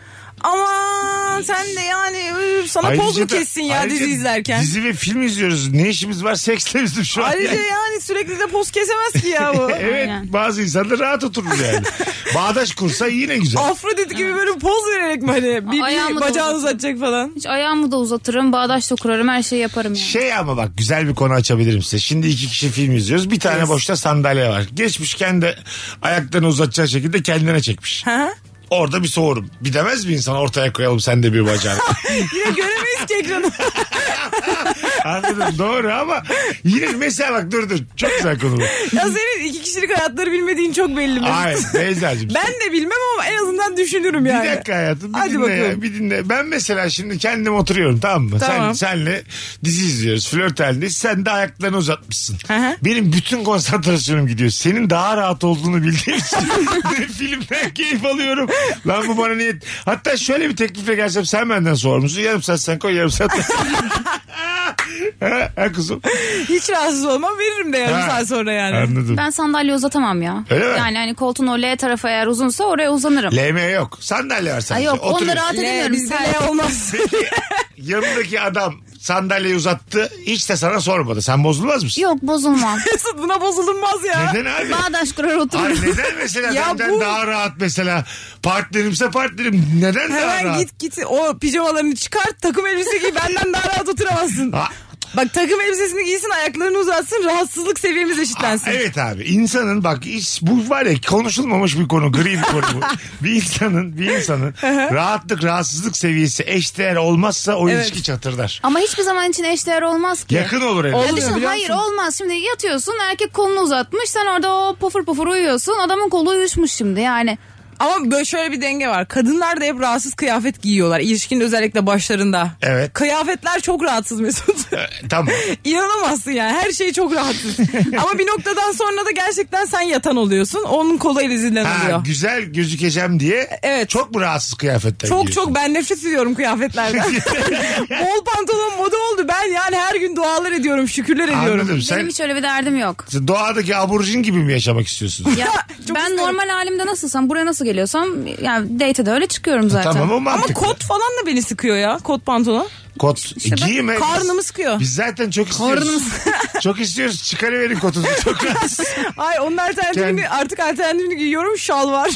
Speaker 3: Aman sen de yani üf, sana poz mu
Speaker 2: da-
Speaker 3: kessin ya
Speaker 2: ayrıca
Speaker 3: dizi izlerken?
Speaker 2: Dizi ve film izliyoruz. Ne işimiz var seksle bizim şu an.
Speaker 3: Ayrıca
Speaker 2: yani.
Speaker 3: yani sürekli de poz kesemez ki ya bu.
Speaker 2: Evet
Speaker 4: Aynen.
Speaker 2: bazı insanlar rahat oturur yani. Bağdaş kursa yine güzel.
Speaker 3: Afrodit gibi böyle bir poz vererek mi hani? Bir, bir
Speaker 4: Ayağımı da
Speaker 3: bacağını
Speaker 4: uzatayım.
Speaker 3: uzatacak falan.
Speaker 4: Hiç ayağımı da uzatırım. Bağdaş da kurarım. Her şeyi yaparım yani.
Speaker 2: Şey ama bak güzel bir konu açabilirim size. Şimdi iki kişi film izliyoruz. Bir tane boşta sandalye var. Geçmiş kendi ayaklarını uzatacağı şekilde kendine çekmiş.
Speaker 3: Ha?
Speaker 2: Orada bir soğurum. Bir demez mi insan ortaya koyalım sen de bir bacağını.
Speaker 3: Yine göremeyiz ki ekranı.
Speaker 2: Anladım doğru ama yine mesela bak dur dur çok güzel konu bu.
Speaker 3: ya senin iki kişilik hayatları bilmediğin çok belli. Mesut.
Speaker 2: Ay Beyza'cığım.
Speaker 3: Ben de bilmem ama en azından düşünürüm
Speaker 2: Bir
Speaker 3: yani.
Speaker 2: dakika hayatım bir
Speaker 3: Hadi
Speaker 2: dinle ya,
Speaker 3: bakalım.
Speaker 2: bir dinle. Ben mesela şimdi kendim oturuyorum tamam mı?
Speaker 3: Tamam.
Speaker 2: Sen, senle dizi izliyoruz flört halindeyiz. Sen de ayaklarını uzatmışsın.
Speaker 3: Hı hı.
Speaker 2: Benim bütün konsantrasyonum gidiyor. Senin daha rahat olduğunu bildiğim için de filmden keyif alıyorum. Lan bu bana niyet. Hatta şöyle bir teklifle gelsem sen benden sorar mısın? Yarım saat sen koy yarım saat. ha, ha kızım.
Speaker 3: Hiç rahatsız olmam veririm de yarım
Speaker 2: Ha,
Speaker 3: saat sonra yani.
Speaker 2: Anladım.
Speaker 4: Ben sandalye uzatamam ya.
Speaker 2: Öyle mi?
Speaker 4: Yani hani koltuğun o L tarafı eğer uzunsa oraya uzanırım.
Speaker 2: LM yok. Sandalye var
Speaker 4: Ay
Speaker 2: sadece.
Speaker 4: yok onu
Speaker 2: Oturuyorsun.
Speaker 4: rahat
Speaker 3: L,
Speaker 4: edemiyorum.
Speaker 3: bizde
Speaker 4: Sen-
Speaker 3: L olmaz.
Speaker 2: Peki, yanındaki adam sandalyeyi uzattı. Hiç de sana sormadı. Sen bozulmaz mısın?
Speaker 4: Yok bozulmam.
Speaker 3: Mesut buna bozulunmaz ya.
Speaker 2: Neden abi?
Speaker 4: Bağdaş kurar
Speaker 2: Ay
Speaker 4: otururum.
Speaker 2: neden mesela
Speaker 3: Ya
Speaker 2: benden
Speaker 3: bu-
Speaker 2: daha rahat mesela partnerimse partnerim neden daha
Speaker 3: Hemen
Speaker 2: rahat?
Speaker 3: git git o pijamalarını çıkart takım elbise giy benden daha rahat oturamazsın.
Speaker 2: Ha,
Speaker 3: Bak takım elbisesini giysin ayaklarını uzatsın rahatsızlık seviyemiz
Speaker 2: ha,
Speaker 3: eşitlensin.
Speaker 2: evet abi insanın bak iş, bu var ya konuşulmamış bir konu gri bir konu bu. bir insanın bir insanın rahatlık rahatsızlık seviyesi eşdeğer olmazsa o
Speaker 3: Evet.
Speaker 2: ilişki çatırdar.
Speaker 4: Ama hiçbir zaman için eşdeğer olmaz ki.
Speaker 2: Yakın olur
Speaker 4: Ya
Speaker 2: elbette.
Speaker 4: düşün,
Speaker 3: biliyor
Speaker 4: hayır
Speaker 3: musun?
Speaker 4: olmaz. Şimdi yatıyorsun erkek kolunu uzatmış. Sen orada o pofur pofur uyuyorsun. Adamın kolu uyuşmuş şimdi yani.
Speaker 3: Ama böyle şöyle bir denge var. Kadınlar da hep rahatsız kıyafet giyiyorlar. İlişkinin özellikle başlarında.
Speaker 2: Evet.
Speaker 3: Kıyafetler çok rahatsız Mesut.
Speaker 2: Ee, Tamam.
Speaker 3: İnanamazsın yani her şey çok rahatsız. Ama bir noktadan sonra da gerçekten sen yatan oluyorsun. Onun kolu elizinden
Speaker 2: Ha,
Speaker 3: oluyor.
Speaker 2: güzel gözükeceğim diye
Speaker 3: Evet.
Speaker 2: çok mu rahatsız kıyafetler
Speaker 3: Çok
Speaker 2: giyiyorsun?
Speaker 3: çok ben nefret ediyorum kıyafetlerden. Bol pantolon moda oldu. Ben yani her gün dualar ediyorum, şükürler ediyorum.
Speaker 2: Anladım.
Speaker 4: Benim
Speaker 2: Sen
Speaker 4: hiç öyle bir derdim yok.
Speaker 2: doğadaki aborjin gibi mi yaşamak istiyorsun?
Speaker 4: Ya,
Speaker 3: Çok
Speaker 4: ben
Speaker 3: isterim.
Speaker 4: normal halimde nasılsam buraya nasıl geliyorsam yani date de öyle çıkıyorum zaten.
Speaker 2: E, Tamam o
Speaker 3: Ama
Speaker 2: mantıklı.
Speaker 3: kot falan da beni sıkıyor ya. Kot pantolon.
Speaker 2: Kot
Speaker 4: İşte ben-
Speaker 2: giyme.
Speaker 3: Karnımı sıkıyor.
Speaker 2: Biz zaten çok istiyoruz. çok istiyoruz. Çıkarıverin kotunuzu çok rahatsız.
Speaker 3: Ay onun alternatifini
Speaker 2: Kend-
Speaker 3: artık alternatifini giyiyorum. Şal var.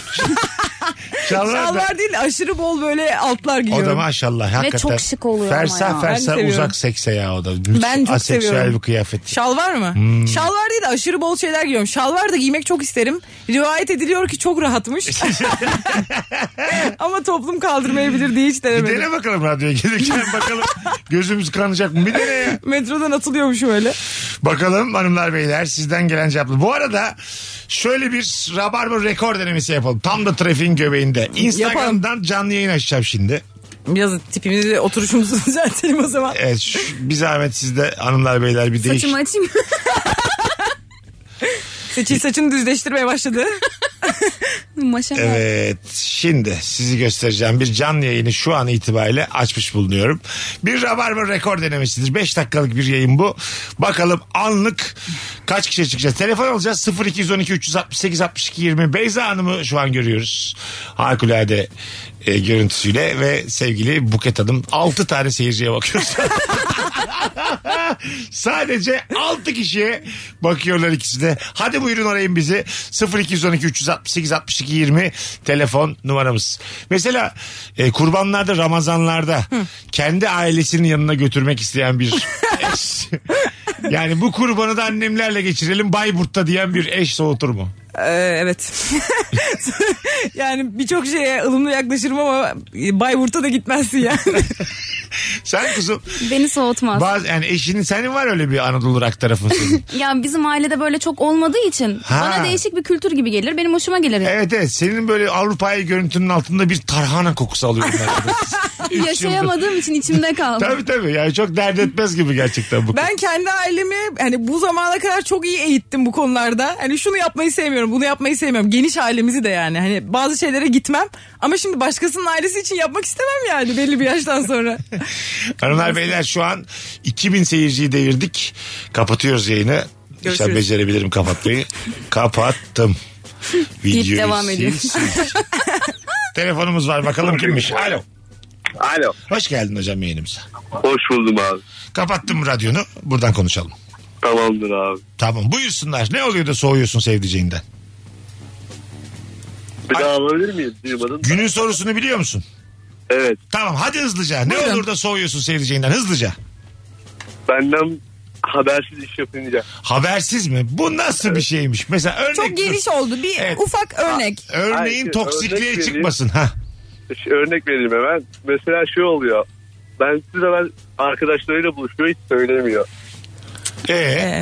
Speaker 2: Şalvar
Speaker 3: Şal
Speaker 2: da.
Speaker 3: var değil aşırı bol böyle altlar
Speaker 2: O
Speaker 3: giyiyorum.
Speaker 2: da maşallah hakikaten.
Speaker 4: çok şık oluyor ama
Speaker 2: Fersah
Speaker 4: ya.
Speaker 2: fersah
Speaker 3: Ben seviyorum.
Speaker 2: uzak sekse ya o da.
Speaker 3: Ben çok
Speaker 2: Aseksüel
Speaker 3: seviyorum.
Speaker 2: bir kıyafet.
Speaker 3: Şal var mı?
Speaker 2: Hmm.
Speaker 3: Şal var değil de aşırı bol şeyler giyiyorum. Şal var da giymek çok isterim. Rivayet ediliyor ki çok rahatmış. Ama toplum kaldırmayabilir diye hiç
Speaker 2: Bir
Speaker 3: denemedim.
Speaker 2: dene bakalım radyoya gelirken bakalım gözümüz kanacak mı? Bir dene ya.
Speaker 3: Metrodan atılıyormuş öyle.
Speaker 2: Bakalım hanımlar beyler sizden gelen cevaplar. Bu arada şöyle bir rabarba rekor denemesi yapalım. Tam da trafiğin göbeğinde. Instagram'dan canlı yayın açacağım şimdi.
Speaker 3: Biraz tipimizi oturuşumuzu düzeltelim o zaman.
Speaker 2: Evet, şu- bir zahmet sizde hanımlar beyler bir değiş.
Speaker 4: Saçımı açayım.
Speaker 3: Seçil saçını düzleştirmeye başladı.
Speaker 4: Maşa var.
Speaker 2: Evet şimdi sizi göstereceğim bir canlı yayını şu an itibariyle açmış bulunuyorum. Bir Rabarba rekor denemesidir. 5 dakikalık bir yayın bu. Bakalım anlık kaç kişi çıkacağız. Telefon alacağız 0212 368 62 20. Beyza Hanım'ı şu an görüyoruz. Harikulade e, görüntüsüyle ve sevgili Buket Hanım 6 tane seyirciye bakıyoruz. Sadece 6 kişiye bakıyorlar ikisi de. Hadi buyurun arayın bizi. 0212 368 62 20 telefon numaramız. Mesela e, kurbanlarda, Ramazanlarda kendi ailesinin yanına götürmek isteyen bir eş. yani bu kurbanı da annemlerle geçirelim Bayburt'ta diyen bir eş soğutur mu?
Speaker 3: Ee, evet. yani birçok şeye ılımlı yaklaşırım ama e, Bayburt'a da gitmezsin yani.
Speaker 2: Sen kuzum
Speaker 4: Beni soğutmaz.
Speaker 2: bazı yani eşinin senin var öyle bir Anadolu rak tarafın senin.
Speaker 4: ya bizim ailede böyle çok olmadığı için
Speaker 2: Ha.
Speaker 4: bana değişik bir kültür gibi gelir. Benim hoşuma gelir.
Speaker 2: Evet evet senin böyle Avrupa'yı görüntünün altında bir tarhana kokusu alıyorum ben.
Speaker 4: Yaşayamadığım için içimde kaldı.
Speaker 2: Tabii tabii yani çok dert etmez gibi gerçekten bu.
Speaker 3: Ben kendi ailemi hani bu zamana kadar çok iyi eğittim bu konularda. Hani şunu yapmayı sevmiyorum, bunu yapmayı sevmiyorum. Geniş ailemizi de yani. Hani bazı şeylere gitmem ama şimdi başkasının ailesi için yapmak istemem yani belli bir yaştan sonra.
Speaker 2: Hanımlar beyler şu an 2000 seyirciyi devirdik. Kapatıyoruz yayını. İnşallah
Speaker 3: Görüşürüz.
Speaker 2: becerebilirim kapatmayı. Kapattım. Videoyu
Speaker 4: devam ediyor.
Speaker 2: sil, sil. Telefonumuz var bakalım kimmiş. Alo.
Speaker 8: Alo.
Speaker 2: Hoş geldin hocam yayınımıza.
Speaker 8: Hoş buldum abi.
Speaker 2: Kapattım radyonu. Buradan konuşalım.
Speaker 8: Tamamdır abi.
Speaker 2: Tamam buyursunlar. Ne oluyor da soğuyorsun sevdiceğinden?
Speaker 8: Bir daha alabilir miyim? Duymadın.
Speaker 2: Günün sorusunu biliyor musun?
Speaker 8: Evet.
Speaker 2: Tamam hadi hızlıca. Ne
Speaker 3: Buyurun.
Speaker 2: olur da soğuyorsun sevdiceğinden hızlıca.
Speaker 8: Benden habersiz iş yapınca.
Speaker 2: Habersiz mi? Bu nasıl bir şeymiş? Mesela örnek
Speaker 3: Çok geniş oldu. Bir
Speaker 2: Evet.
Speaker 3: ufak örnek.
Speaker 2: Örneğin
Speaker 8: Hayır,
Speaker 2: toksikliğe
Speaker 8: örnek vereyim.
Speaker 2: çıkmasın. Ha.
Speaker 8: Ş- Örnek vereyim hemen. Mesela şey oluyor. Ben size ben arkadaşlarıyla buluşuyor hiç söylemiyor.
Speaker 2: Ee,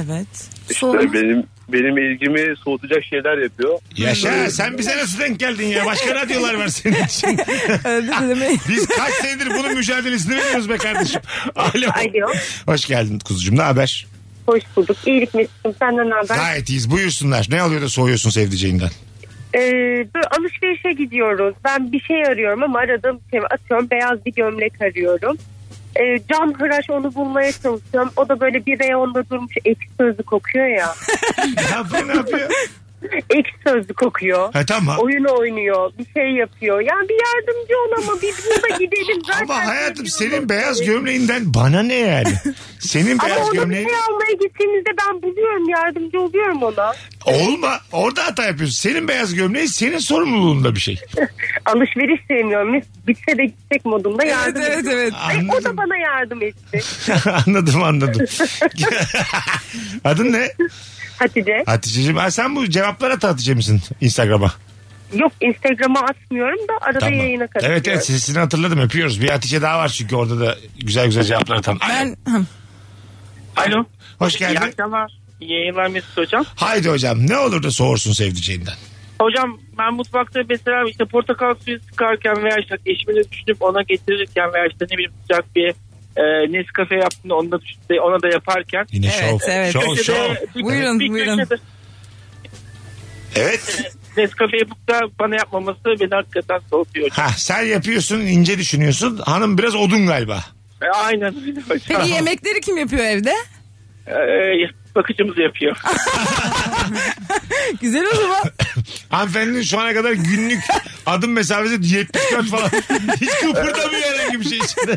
Speaker 3: Evet.
Speaker 8: İşte
Speaker 4: Soğumaz.
Speaker 8: benim benim ilgimi soğutacak şeyler yapıyor.
Speaker 2: yaşa sen bize nasıl denk geldin ya? Başka radyolar var senin için.
Speaker 3: Öyle demeyin.
Speaker 2: Biz kaç senedir bunun mücadelesini veriyoruz be kardeşim. Alo.
Speaker 9: Alo.
Speaker 2: Hoş geldin kuzucuğum ne haber?
Speaker 9: Hoş bulduk. İyilik Mesut'um. Senden ne haber?
Speaker 2: Gayet iyiyiz buyursunlar. Ne oluyor da soğuyorsun sevdiceğinden?
Speaker 9: Ee, böyle alışverişe gidiyoruz. Ben bir şey arıyorum ama aradığım şey atıyorum beyaz bir gömlek arıyorum. Ee, cam hıraş onu bulmaya çalışıyorum. O da böyle bir reyonda durmuş ekşi sözlü kokuyor ya.
Speaker 2: Ya bu ne yapıyor?
Speaker 9: ekşi sözlü kokuyor.
Speaker 2: Ha, tamam.
Speaker 9: Oyun oynuyor. Bir şey yapıyor. Yani bir yardımcı ol ama bir burada gidelim. Zaten şey
Speaker 2: Ama hayatım
Speaker 9: seviyorum.
Speaker 2: senin beyaz gömleğinden bana ne yani? Senin
Speaker 9: ama
Speaker 2: beyaz
Speaker 9: ona
Speaker 2: gömleğin...
Speaker 9: bir şey almaya gittiğimizde ben buluyorum yardımcı oluyorum ona.
Speaker 2: Olma. Orada hata yapıyorsun. Senin beyaz gömleğin senin sorumluluğunda bir şey.
Speaker 9: Alışveriş sevmiyorum. Biz Bitse de gitsek modunda
Speaker 3: Evet
Speaker 9: yardım
Speaker 3: evet evet.
Speaker 9: E, o
Speaker 2: Anladım.
Speaker 9: da bana yardım etti.
Speaker 2: anladım anladım. Adın ne?
Speaker 9: Hatice.
Speaker 2: Hatice'cim ha sen bu cevaplara at Hatice misin Instagram'a?
Speaker 9: Yok Instagram'a atmıyorum da arada yayına katılıyorum.
Speaker 2: Evet evet sesini hatırladım öpüyoruz. Bir Hatice daha var çünkü orada da güzel güzel cevaplar atan. Alo,
Speaker 3: Ben
Speaker 10: Alo.
Speaker 2: Hoş
Speaker 10: İyi
Speaker 2: geldin.
Speaker 10: akşamlar. İyi yayınlar Mesut Hocam.
Speaker 2: Haydi hocam ne olur da soğursun sevdiceğinden.
Speaker 10: Hocam ben mutfakta mesela işte portakal suyu sıkarken veya işte eşimine düşünüp ona getirirken veya işte ne bileyim sıcak bir e, Nescafe yaptığında onu da düşünüp de- ona da yaparken.
Speaker 2: Yine
Speaker 3: Evet,
Speaker 2: şov.
Speaker 3: evet.
Speaker 2: Şov
Speaker 10: Köşede-
Speaker 2: şov.
Speaker 10: bir-
Speaker 3: Buyurun,
Speaker 10: bir
Speaker 3: buyurun.
Speaker 10: köşede
Speaker 2: Evet.
Speaker 10: Nescafe yapıp da bana yapmaması beni hakikaten soğutuyor. hocam.
Speaker 2: Ha sen yapıyorsun ince düşünüyorsun. Hanım biraz odun galiba.
Speaker 10: E, aynen öyle hocam.
Speaker 3: peki yemekleri kim yapıyor evde?
Speaker 10: E, bakıcımız yapıyor.
Speaker 3: Güzel o zaman.
Speaker 2: Hanımefendinin şu ana kadar günlük adım mesafesi 74 falan. Hiç kıpırdamıyor herhangi bir şey içinde.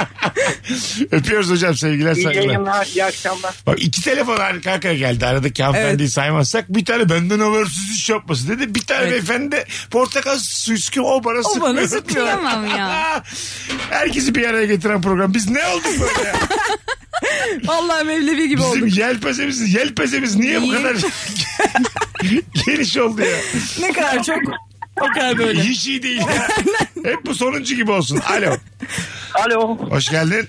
Speaker 2: Öpüyoruz hocam sevgiler
Speaker 10: İyi
Speaker 2: saygılar.
Speaker 10: yayınlar, iyi akşamlar.
Speaker 2: Bak iki telefon arka arkaya geldi. Aradaki hanımefendiyi saymazsak bir tane benden habersiz iş yapması dedi. Bir tane
Speaker 3: Evet.
Speaker 2: beyefendi de portakal suyu sıkıyor o bana sıkmıyor.
Speaker 3: bana sıkmıyor.
Speaker 4: Kıyamam ya.
Speaker 2: Herkesi bir araya getiren program. Biz ne olduk böyle ya?
Speaker 3: Vallahi Mevlevi gibi
Speaker 2: Bizim
Speaker 3: olduk.
Speaker 2: yelpazemiz, yelpazemiz niye bu
Speaker 3: İyi.
Speaker 2: kadar geniş oldu ya?
Speaker 3: Ne kadar çok o kadar böyle.
Speaker 2: Hiç iyi değil ya. Hep bu sonuncu gibi olsun. Alo.
Speaker 10: Alo.
Speaker 2: Hoş geldin.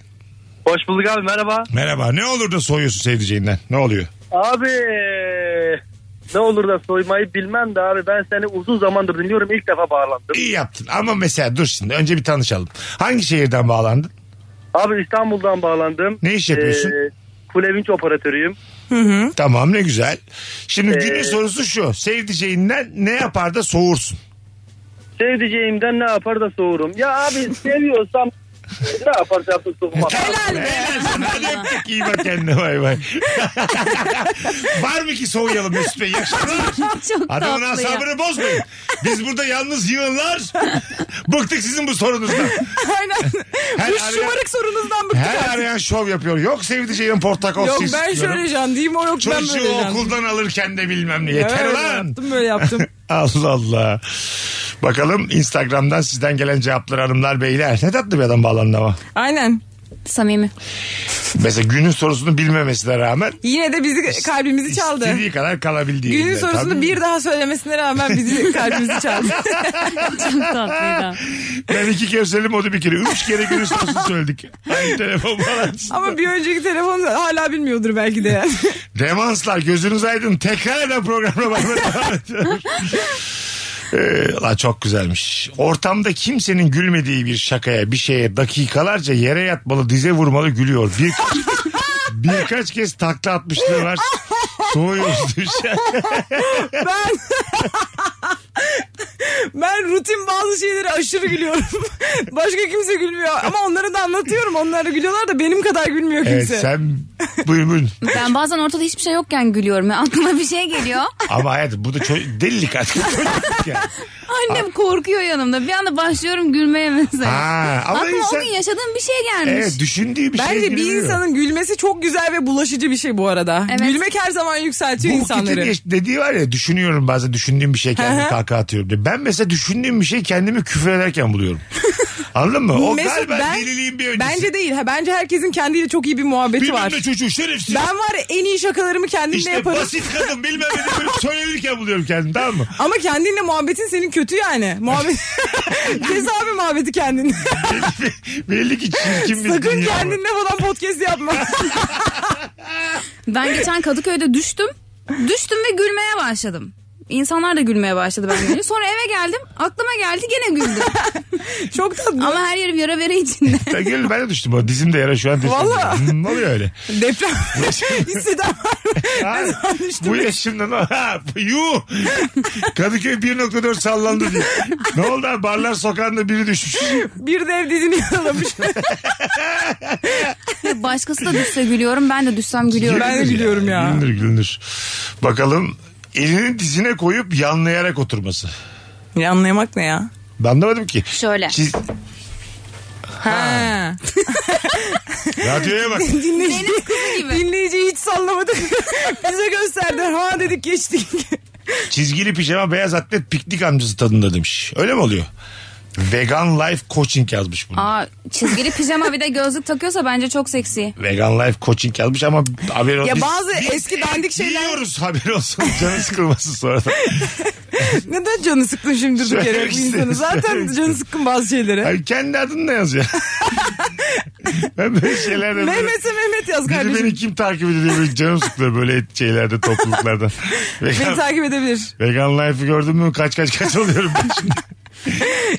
Speaker 10: Hoş bulduk abi merhaba.
Speaker 2: Merhaba. Ne olur da soğuyorsun sevdiceğinden? Ne oluyor?
Speaker 10: Abi ne olur da soymayı bilmem de abi ben seni uzun zamandır dinliyorum ilk defa bağlandım.
Speaker 2: İyi yaptın. Ama mesela dur şimdi. Önce bir tanışalım. Hangi şehirden bağlandın?
Speaker 10: Abi İstanbul'dan bağlandım.
Speaker 2: Ne iş yapıyorsun?
Speaker 10: Ee, Kule vinç operatörüyüm.
Speaker 2: Tamam ne güzel. Şimdi
Speaker 11: Ee,
Speaker 2: günün sorusu şu. Sevdiceğinden ne yapar da soğursun?
Speaker 11: Sevdiceğimden ne yapar da soğurum. Ya abi seviyorsam ne yaparsa yapsın soğumam.
Speaker 2: Helal be. İyi bak kendine bay bay. Var mı ki soğuyalım Mesut Bey? Yakışıklar.
Speaker 4: Çok
Speaker 2: Adamın
Speaker 4: tatlı ya.
Speaker 2: asabını bozmayın. Biz burada yalnız yığınlar. Bıktık sizin bu sorunuzdan.
Speaker 3: Aynen.
Speaker 2: Her
Speaker 3: Bu
Speaker 2: arayan-
Speaker 3: şımarık sorunuzdan bıktık
Speaker 2: Her
Speaker 3: artık.
Speaker 2: arayan şov yapıyor. Yok sevdiceğim portakal
Speaker 3: Yok
Speaker 2: suyu
Speaker 3: ben
Speaker 2: istiyorum.
Speaker 3: şöyle can diyeyim o yok ben
Speaker 2: Çocuğu
Speaker 3: böyle can.
Speaker 2: okuldan alırken de bilmem ne. Yeter
Speaker 3: Evet,
Speaker 2: lan.
Speaker 3: Yaptım böyle yaptım.
Speaker 2: Allah Allah. Bakalım Instagram'dan sizden gelen cevaplar hanımlar beyler. Ne tatlı bir adam bağlandı ama.
Speaker 3: Aynen.
Speaker 4: Samimi.
Speaker 2: Mesela günün sorusunu bilmemesine rağmen
Speaker 3: Yine de bizi kalbimizi çaldı.
Speaker 2: istediği kadar kalabildiği.
Speaker 3: Günün
Speaker 2: yerinde.
Speaker 3: sorusunu
Speaker 2: Tabii.
Speaker 3: bir daha söylemesine rağmen bizi kalbimizi çaldı.
Speaker 4: Çok tatlıydı.
Speaker 2: Ben iki kere söyledim o da bir kere. Üç kere günün sorusunu söyledik. Aynı telefon bağlantısında.
Speaker 3: Ama bir önceki telefon hala bilmiyordur belki de yani.
Speaker 2: Remanslar gözünüz aydın. Tekrardan programına bakmaya devam ediyoruz. Ee, la çok güzelmiş. Ortamda kimsenin gülmediği bir şakaya, bir şeye dakikalarca yere yatmalı, dize vurmalı gülüyor. Bir birkaç kez takla atmışlığı var. Soğuyoruz demiş.
Speaker 3: Ben ben rutin bazı şeylere aşırı gülüyorum. Başka kimse gülmüyor ama onlara da anlatıyorum. Onlar da gülüyorlar da benim kadar gülmüyor
Speaker 2: Evet
Speaker 3: kimse.
Speaker 2: sen buyurun buyurun.
Speaker 4: Ben bazen ortada hiçbir şey yokken gülüyorum. ya. Aklıma bir şey geliyor.
Speaker 2: Ama hayat bu da ço- delilik artık. Çocukluk yani.
Speaker 4: Annem korkuyor yanımda. Bir anda başlıyorum gülmeye mesela.
Speaker 2: Ha, ama
Speaker 4: Aklıma
Speaker 2: insan-
Speaker 4: o gün yaşadığım bir şey gelmiş.
Speaker 2: Evet düşündüğü bir şey
Speaker 3: Bence bir
Speaker 2: gülmüyor.
Speaker 3: insanın gülmesi çok güzel ve bulaşıcı bir şey bu arada.
Speaker 4: Evet.
Speaker 3: Gülmek her zaman yükseltiyor
Speaker 2: Bu
Speaker 3: insanları.
Speaker 2: kötü geç- dediği var ya düşünüyorum bazen düşündüğüm bir şey
Speaker 3: Hı
Speaker 2: kendimi
Speaker 3: hı.
Speaker 2: kahkaha atıyorum diye. Ben mesela düşündüğüm bir şey kendimi küfür ederken buluyorum. Anladın mı? O
Speaker 3: Mesut,
Speaker 2: galiba
Speaker 3: ben-
Speaker 2: deliliğin bir öncesi.
Speaker 3: Bence değil. Ha, bence herkesin kendiyle çok iyi bir muhabbeti
Speaker 2: Bilmem
Speaker 3: var.
Speaker 2: ne çocuğu şerefsiz.
Speaker 3: Ben var ya en iyi şakalarımı kendimle
Speaker 2: işte
Speaker 3: yaparım.
Speaker 2: basit kadın bilmem ne diye böyle söylenirken buluyorum kendimi tamam mı?
Speaker 3: Ama kendinle muhabbetin senin kötü yani. Muhabbet... Cezavi muhabbeti kendin.
Speaker 2: Belli ki çirkin bir
Speaker 3: Sakın
Speaker 2: dünya var.
Speaker 3: kendinle falan podcast yapma.
Speaker 4: Ben geçen Kadıköy'de düştüm. Düştüm ve gülmeye başladım. İnsanlar da gülmeye başladı ben gülünce. Sonra eve geldim. Aklıma geldi gene güldüm.
Speaker 3: Çok tatlı.
Speaker 4: Ama her yerim yara vere içinde.
Speaker 2: Ben, gel- ben de düştüm. bu. Dizimde yara şu an.
Speaker 3: Valla.
Speaker 2: Ne oluyor öyle?
Speaker 3: Deprem hisseden var mı?
Speaker 2: Ha,
Speaker 3: Ne zaman düştün?
Speaker 2: bu yaşımda ne? Ha, yuh. Kadıköy 1.4 sallandı diye. Ne oldu abi? Barlar sokağında biri düşmüş.
Speaker 3: Bir dev dizini yaralamış.
Speaker 4: Ve Başkası da düşse gülüyorum. Ben de düşsem gülüyorum.
Speaker 3: Ben de gülüyorum ya.
Speaker 2: Gülünür gülünür. Bakalım elini dizine koyup yanlayarak oturması.
Speaker 3: Ya anlayamak ne ya?
Speaker 2: Ben anlamadım ki.
Speaker 4: Şöyle.
Speaker 2: Çiz...
Speaker 3: Ha.
Speaker 2: Radyoya bak.
Speaker 3: Dinleyici,
Speaker 4: Deniz kızı gibi.
Speaker 3: dinleyiciyi hiç sallamadık. Bize gösterdi. Ha dedik geçtik.
Speaker 2: Çizgili pijama beyaz atlet piknik amcası tadında demiş. Öyle mi oluyor? Vegan Life Coaching yazmış bunu.
Speaker 4: Aa, çizgili pijama bir de gözlük takıyorsa bence çok seksi.
Speaker 2: Vegan Life Coaching yazmış ama haber olsun.
Speaker 3: Ya
Speaker 2: Biz-
Speaker 3: bazı eski dandik şeyler-
Speaker 2: Biliyoruz haber olsun. Canı sıkılmasın sonra.
Speaker 3: Neden canı sıkkın şimdi bir kere
Speaker 2: Söylemek
Speaker 3: bu
Speaker 2: istedim,
Speaker 3: insanı? Zaten
Speaker 2: söylemek istedim.
Speaker 3: canı sıkkın bazı şeylere.
Speaker 2: Ay, kendi adını ne yazıyor? ben böyle şeylerden...
Speaker 3: Mehmet'e Mehmet yaz
Speaker 2: Biri beni
Speaker 3: kardeşim.
Speaker 2: kim takip ediyor böyle canım sıkılıyor böyle şeylerde topluluklardan.
Speaker 3: Beni
Speaker 2: Vegan-
Speaker 3: takip edebilir.
Speaker 2: Vegan Life'ı gördün mü kaç kaç kaç oluyorum ben şimdi.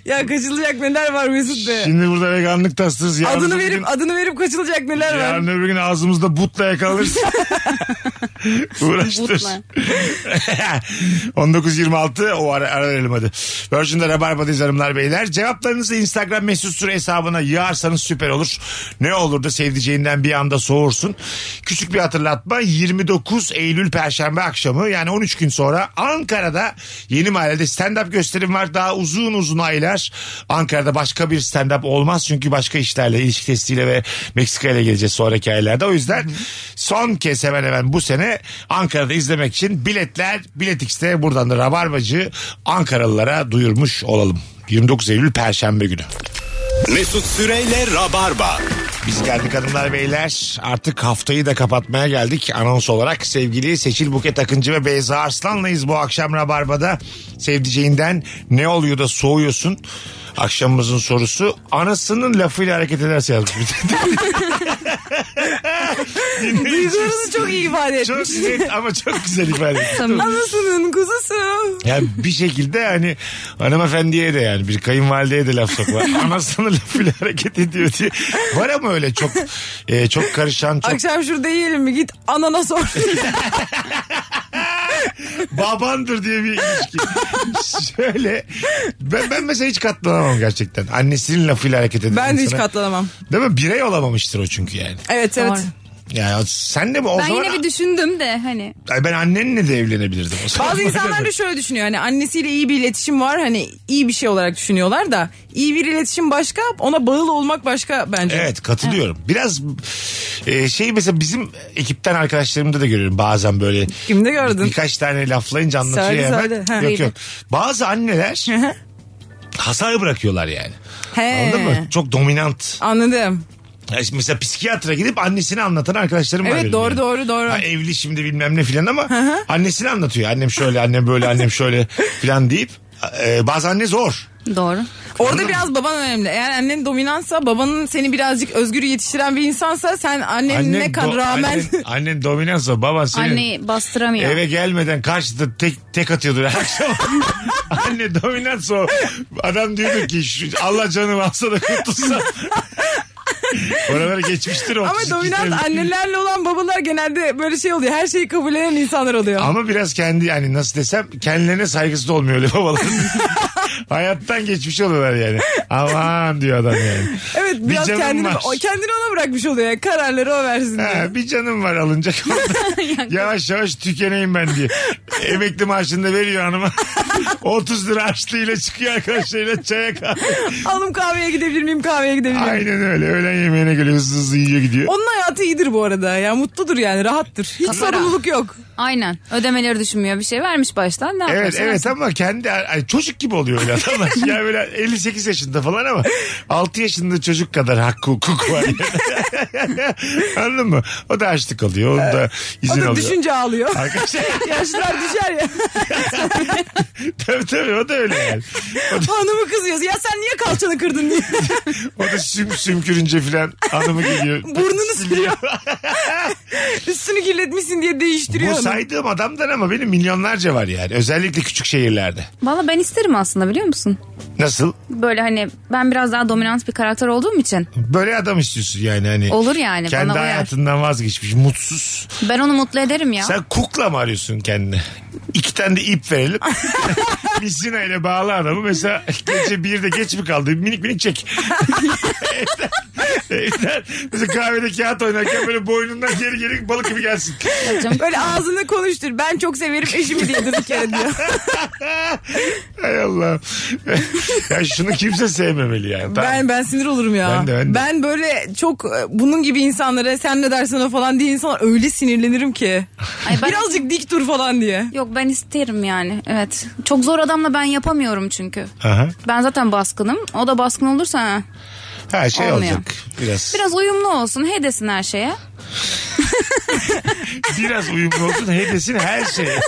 Speaker 3: Ya kaçılacak neler var Mesut be.
Speaker 2: Şimdi burada veganlık tastırız. Yarın
Speaker 3: Adını
Speaker 2: öbür
Speaker 3: verip
Speaker 2: gün-
Speaker 3: adını verip kaçılacak neler var.
Speaker 2: Yarın öbür gün ağzımızda butla yakalanırız. Uğraştır.
Speaker 4: Butla.
Speaker 2: 19.26 o ara, ara verelim hadi. Virgin'de Rabarba'dayız hanımlar beyler. Cevaplarınızı Instagram mesut süre hesabına yığarsanız süper olur. Ne olur da sevdiceğinden bir anda soğursun. Küçük bir hatırlatma 29 Eylül Perşembe akşamı yani 13 gün sonra Ankara'da yeni mahallede stand-up gösterim var. Daha uzun uzun aylar Ankara'da başka bir stand-up olmaz. Çünkü başka işlerle ilişki testiyle ve Meksika ile geleceğiz sonraki aylarda. O yüzden son kez hemen hemen bu sene Ankara'da izlemek için biletler Bilet X'te buradan da Rabarbacı Ankaralılara duyurmuş olalım. 29 Eylül Perşembe günü.
Speaker 1: Mesut Süreyle Rabarba.
Speaker 2: Biz geldik hanımlar beyler. Artık haftayı da kapatmaya geldik anons olarak. Sevgili Seçil Buket Akıncı ve Beyza Arslan'layız bu akşam Rabarba'da. Sevdiceğinden ne oluyor da soğuyorsun? Akşamımızın sorusu anasının lafıyla hareket ederse yazmış.
Speaker 3: Duygularınızı çok iyi ifade etmiş.
Speaker 2: Çok net ama çok güzel ifade etmiş.
Speaker 3: Anasının kuzusu.
Speaker 2: Yani bir şekilde hani hanımefendiye de yani bir kayınvalideye de laf sokma. Anasını lafıyla hareket ediyor diye. Var ama öyle çok e, çok karışan çok
Speaker 3: Akşam şurada yiyelim mi? Git anana sor.
Speaker 2: babandır diye bir ilişki. Şöyle ben, ben mesela hiç katlanamam gerçekten. Annesinin lafıyla hareket eden
Speaker 3: ben de hiç
Speaker 2: insana-
Speaker 3: katlanamam.
Speaker 2: Değil mi? Birey olamamıştır o çünkü yani.
Speaker 3: Evet evet.
Speaker 2: Yani sen de mi o
Speaker 4: ben
Speaker 2: zaman
Speaker 4: yine bir düşündüm de hani.
Speaker 2: Ay, ben annenle de evlenebilirdim o zaman.
Speaker 3: Bazı insanlar da şöyle düşünüyor hani annesiyle iyi bir iletişim var hani iyi bir şey olarak düşünüyorlar da iyi bir iletişim başka ona bağlı olmak başka bence.
Speaker 2: Evet katılıyorum. Biraz e, şey mesela bizim ekipten arkadaşlarımda da görüyorum bazen böyle.
Speaker 3: Kimde gördün?
Speaker 2: Birkaç tane laflayınca anlatıyor
Speaker 3: Söyle,
Speaker 2: hemen.
Speaker 3: söyle. Ha,
Speaker 2: yok
Speaker 3: iyi
Speaker 2: yok. Bazı anneler hasar bırakıyorlar yani.
Speaker 3: He.
Speaker 2: Anladın mı? Çok dominant.
Speaker 3: Anladım.
Speaker 2: Yani şimdi mesela psikiyatra gidip annesini anlatan arkadaşlarım var.
Speaker 3: Evet,
Speaker 2: benim
Speaker 3: doğru,
Speaker 2: yani.
Speaker 3: doğru, doğru.
Speaker 2: Ha, evli şimdi bilmem ne filan ama annesini anlatıyor. Annem şöyle annem böyle annem şöyle filan deyip e, bazı anne zor.
Speaker 4: Doğru.
Speaker 3: Orada biraz baban önemli. Eğer annen dominantsa babanın seni birazcık özgür yetiştiren bir insansa sen annenin ne kadar
Speaker 2: do-
Speaker 3: rağmen
Speaker 2: Annen, annen dominansa baban senin.
Speaker 4: Anneyi bastıramıyor.
Speaker 2: Eve gelmeden karşıda tek tek atıyordu her akşam. Anne dominant o. Adam diyordu ki şu, Allah canımı alsa da kurtulsa. Oraları geçmiştir o.
Speaker 3: ama
Speaker 2: 32
Speaker 3: dominant
Speaker 2: senelik.
Speaker 3: annelerle olan babalar genelde böyle şey oluyor. Her şeyi kabullenen insanlar oluyor.
Speaker 2: Ama biraz kendi yani nasıl desem kendilerine saygısız da olmuyor öyle babaların. Hayattan geçmiş oluyorlar yani. Aman diyor adam yani.
Speaker 3: evet
Speaker 2: bir
Speaker 3: biraz
Speaker 2: canım
Speaker 3: kendini
Speaker 2: var.
Speaker 3: o kendini ona bırakmış oluyor. Yani Kararları o versin diye.
Speaker 2: Ha, bir canım var alınacak. yavaş yavaş tükeneyim ben diye. Emekli maaşını da veriyor hanıma. 30 lira açlığıyla çıkıyor arkadaşlarıyla çaya kahve.
Speaker 3: Hanım kahveye gidebilir miyim kahveye gidebilir miyim?
Speaker 2: Aynen öyle. Öğlen yemeğine geliyor hızlı hızlı yiyor gidiyor.
Speaker 3: Onun hayatı iyidir bu arada. Yani mutludur yani rahattır. Hiç
Speaker 4: Tabii.
Speaker 3: sorumluluk yok.
Speaker 4: Aynen. Ödemeleri düşünmüyor. Bir şey vermiş baştan. Ne
Speaker 2: Evet
Speaker 4: yaparsa
Speaker 2: evet
Speaker 4: versin.
Speaker 2: ama kendi ay, çocuk gibi oluyor öyle adamlar. yani böyle 58 yaşında falan ama 6 yaşında çocuk kadar hakkı hukuk var. yani. Anladın mı? O da açlık alıyor. Onun da izin
Speaker 3: o da
Speaker 2: alıyor.
Speaker 3: düşünce ağlıyor.
Speaker 2: Arkadaşlar
Speaker 3: Yaşlar düşer ya.
Speaker 2: tabii tabii o da öyle yani.
Speaker 3: Hanımı kızıyorsun. Ya sen niye kalçanı kırdın diye.
Speaker 2: O da süm, sümkürünce filan hanımı geliyor.
Speaker 3: Burnunu siliyor. Üstünü kirletmişsin diye değiştiriyor.
Speaker 2: Bu
Speaker 3: onu.
Speaker 2: saydığım adamdan ama benim milyonlarca var yani. Özellikle küçük şehirlerde.
Speaker 4: Valla ben isterim aslında biliyor musun?
Speaker 2: Nasıl?
Speaker 4: Böyle hani ben biraz daha dominant bir karakter olduğum için.
Speaker 2: Böyle adam istiyorsun yani hani.
Speaker 4: Olur yani,
Speaker 2: Kendi
Speaker 4: bana uyar.
Speaker 2: hayatından vazgeçmiş, mutsuz.
Speaker 4: Ben onu mutlu ederim ya.
Speaker 2: Sen kukla mı arıyorsun kendine? İki tane de ip verelim. Misina ile bağlı adamı mesela gece bir de geç mi kaldı? Minik minik çek. Evden- evden mesela kahvede kağıt oynarken böyle boynundan geri geri balık gibi gelsin.
Speaker 3: Böyle ağzını konuştur. Ben çok severim eşimi diyedir bir kere diyor.
Speaker 2: Hay Allah. ya şunu kimse sevmemeli yani. Tamam.
Speaker 3: Ben ben sinir olurum ya.
Speaker 2: Ben de, ben de.
Speaker 3: böyle çok e, bunun gibi insanlara sen ne dersen o falan diye insanlar öyle sinirlenirim ki.
Speaker 4: Ay ben-
Speaker 3: Birazcık dik dur falan diye.
Speaker 4: Yok ben isterim yani. Evet. Çok zor adamla ben yapamıyorum çünkü.
Speaker 2: Aha.
Speaker 4: Ben zaten baskınım. O da baskın olursa ha.
Speaker 2: Ha şey
Speaker 4: Olmuyor.
Speaker 2: olacak. Biraz.
Speaker 4: biraz uyumlu olsun. Hedesin her şeye.
Speaker 2: biraz uyumlu olsun hedesin her şeye.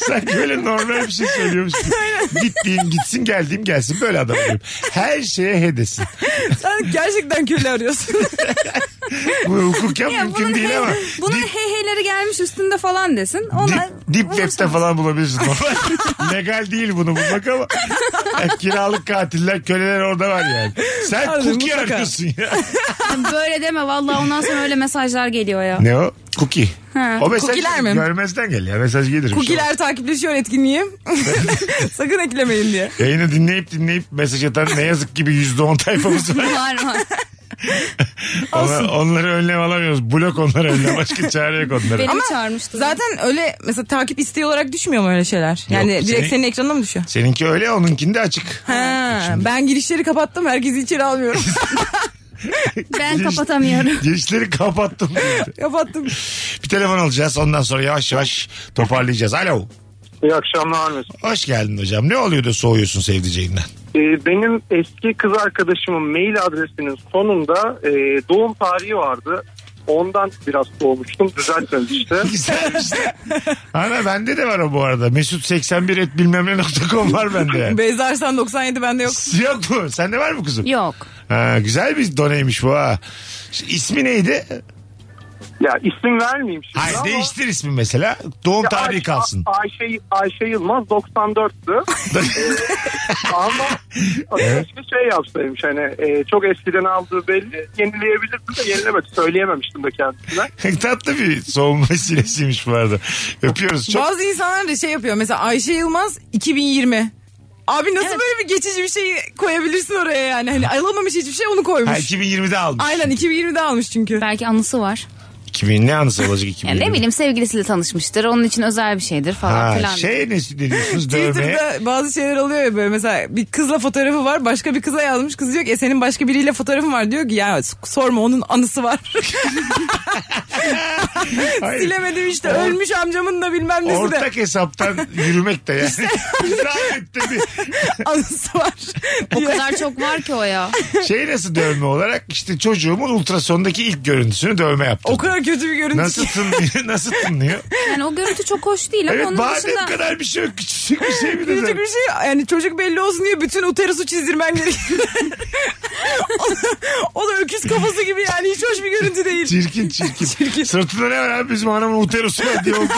Speaker 2: Sanki böyle normal bir şey söylüyormuş gibi. Gittiğim gitsin geldiğim gelsin böyle adam diyorum. Her şeye hedesin.
Speaker 3: Sen gerçekten köle arıyorsun.
Speaker 2: Bu hukuken
Speaker 4: Ya
Speaker 2: mümkün değil
Speaker 4: hey-
Speaker 2: ama.
Speaker 4: bunun
Speaker 2: dip,
Speaker 4: heyheyleri gelmiş üstünde falan desin. Ona
Speaker 2: dip, dip web'te falan bulabilirsin. Legal değil bunu bulmak ama. Ya, kiralık katiller köleler orada var yani. Sen
Speaker 3: Harbiden
Speaker 2: cookie
Speaker 3: mutlaka.
Speaker 2: arıyorsun ya.
Speaker 4: böyle deme vallahi ondan sonra öyle mesajlar geliyor ya.
Speaker 2: ne o? Cookie.
Speaker 4: Ha,
Speaker 2: o mesaj
Speaker 3: cookie'ler mi?
Speaker 2: görmezden geliyor. Mesaj gelir. bir şey olmaz.
Speaker 3: Kukiler takipleşiyor etkinliğim. Sakın eklemeyin diye.
Speaker 2: Yayını dinleyip dinleyip mesaj atan ne yazık gibi %10 tayfamız var.
Speaker 4: var var.
Speaker 2: Ona- onları önlem alamıyoruz. Blok onları önlem. Başka çare yok onlara.
Speaker 4: Beni çağırmıştı.
Speaker 3: Zaten öyle mesela takip isteği olarak düşmüyor mu öyle şeyler? Yani direkt
Speaker 2: senin-
Speaker 3: senin ekranına mı düşüyor?
Speaker 2: Seninki öyle onunkinde açık.
Speaker 3: Ha, ben girişleri kapattım herkesi içeri almıyorum.
Speaker 4: Ben kapatamıyorum.
Speaker 2: Girişleri kapattım.
Speaker 3: kapattım.
Speaker 2: Bir telefon alacağız ondan sonra yavaş yavaş toparlayacağız. Alo.
Speaker 12: İyi akşamlar Mesut.
Speaker 2: Hoş geldin hocam. Ne oluyor da soğuyorsun sevdiceğinden?
Speaker 12: Ee, benim eski kız arkadaşımın mail adresinin sonunda e, doğum tarihi vardı. Ondan biraz soğumuştum. Düzeltmemiş işte.
Speaker 2: Güzelmiş de. Ana bende de var o bu arada. Mesut 81 et bilmem ne nokta com var bende yani.
Speaker 3: Beyza Arslan 97 bende yok.
Speaker 2: Yok mu? Sende var mı kuzum?
Speaker 4: Yok.
Speaker 2: Ha, güzel bir doneymiş bu ha. Şu İsmi neydi?
Speaker 12: Ya isim vermeyeyim şimdi
Speaker 2: Hayır
Speaker 12: ama-
Speaker 2: değiştir ismi mesela. Doğum
Speaker 12: Ya
Speaker 2: tarihi
Speaker 12: Ayşe-
Speaker 2: kalsın.
Speaker 12: Ayşe, Ayşe Yılmaz 94'tü. Ee, ama
Speaker 2: Evet.
Speaker 12: keşke şey yapsaymış hani e, çok eskiden aldığı belli. Yenileyebilirdim de yenilemedi. Söyleyememiştim de kendisine.
Speaker 2: Tatlı bir soğuma sinesiymiş bu arada. Öpüyoruz çok.
Speaker 3: Bazı insanlar da şey yapıyor mesela Ayşe Yılmaz 2020. Abi nasıl böyle bir geçici bir şey koyabilirsin oraya yani? Hani alamamış hiçbir şey onu koymuş.
Speaker 2: Ha, 2020'de almış.
Speaker 3: Aynen 2020'de almış çünkü.
Speaker 4: Belki anısı var.
Speaker 2: 2000 ne anısı olacak
Speaker 4: Yani
Speaker 2: 2020?
Speaker 4: ne bileyim sevgilisiyle tanışmıştır. Onun için özel bir şeydir falan
Speaker 2: Ha,
Speaker 4: filan.
Speaker 2: şey ne ne diyorsunuz dövmeye?
Speaker 3: Twitter'da bazı şeyler oluyor ya böyle mesela bir kızla fotoğrafı var başka bir kıza yazmış kız diyor ki "E, senin başka biriyle fotoğrafın var diyor ki ya sorma onun anısı var.
Speaker 2: Hayır.
Speaker 3: Silemedim işte
Speaker 2: Or-
Speaker 3: ölmüş amcamın da bilmem nesi de
Speaker 2: Ortak hesaptan yürümek de yani. Zahmet de bir-
Speaker 3: anısı var.
Speaker 4: O kadar çok var ki o ya.
Speaker 2: Şey nasıl dövme olarak işte çocuğumun ultrasondaki ilk görüntüsünü dövme yaptım.
Speaker 3: O kadar kötü bir görüntü
Speaker 2: Nasıl
Speaker 3: ki.
Speaker 2: tınlıyor? Nasıl tınlıyor?
Speaker 4: Yani o görüntü çok hoş değil ama
Speaker 2: evet
Speaker 4: onun
Speaker 2: badem
Speaker 4: dışında...
Speaker 2: kadar bir şey yok. Küçücük bir şey bir de.
Speaker 3: Küçücük
Speaker 2: zaten.
Speaker 3: bir şey yani çocuk belli olsun diye bütün uterusu çizdirmen gerekiyor. o, da, o da öküz kafası gibi yani hiç hoş bir görüntü değil.
Speaker 2: Çirkin çirkin. Sırtında ne var abi bizim hanımın uterusu var diye olduk.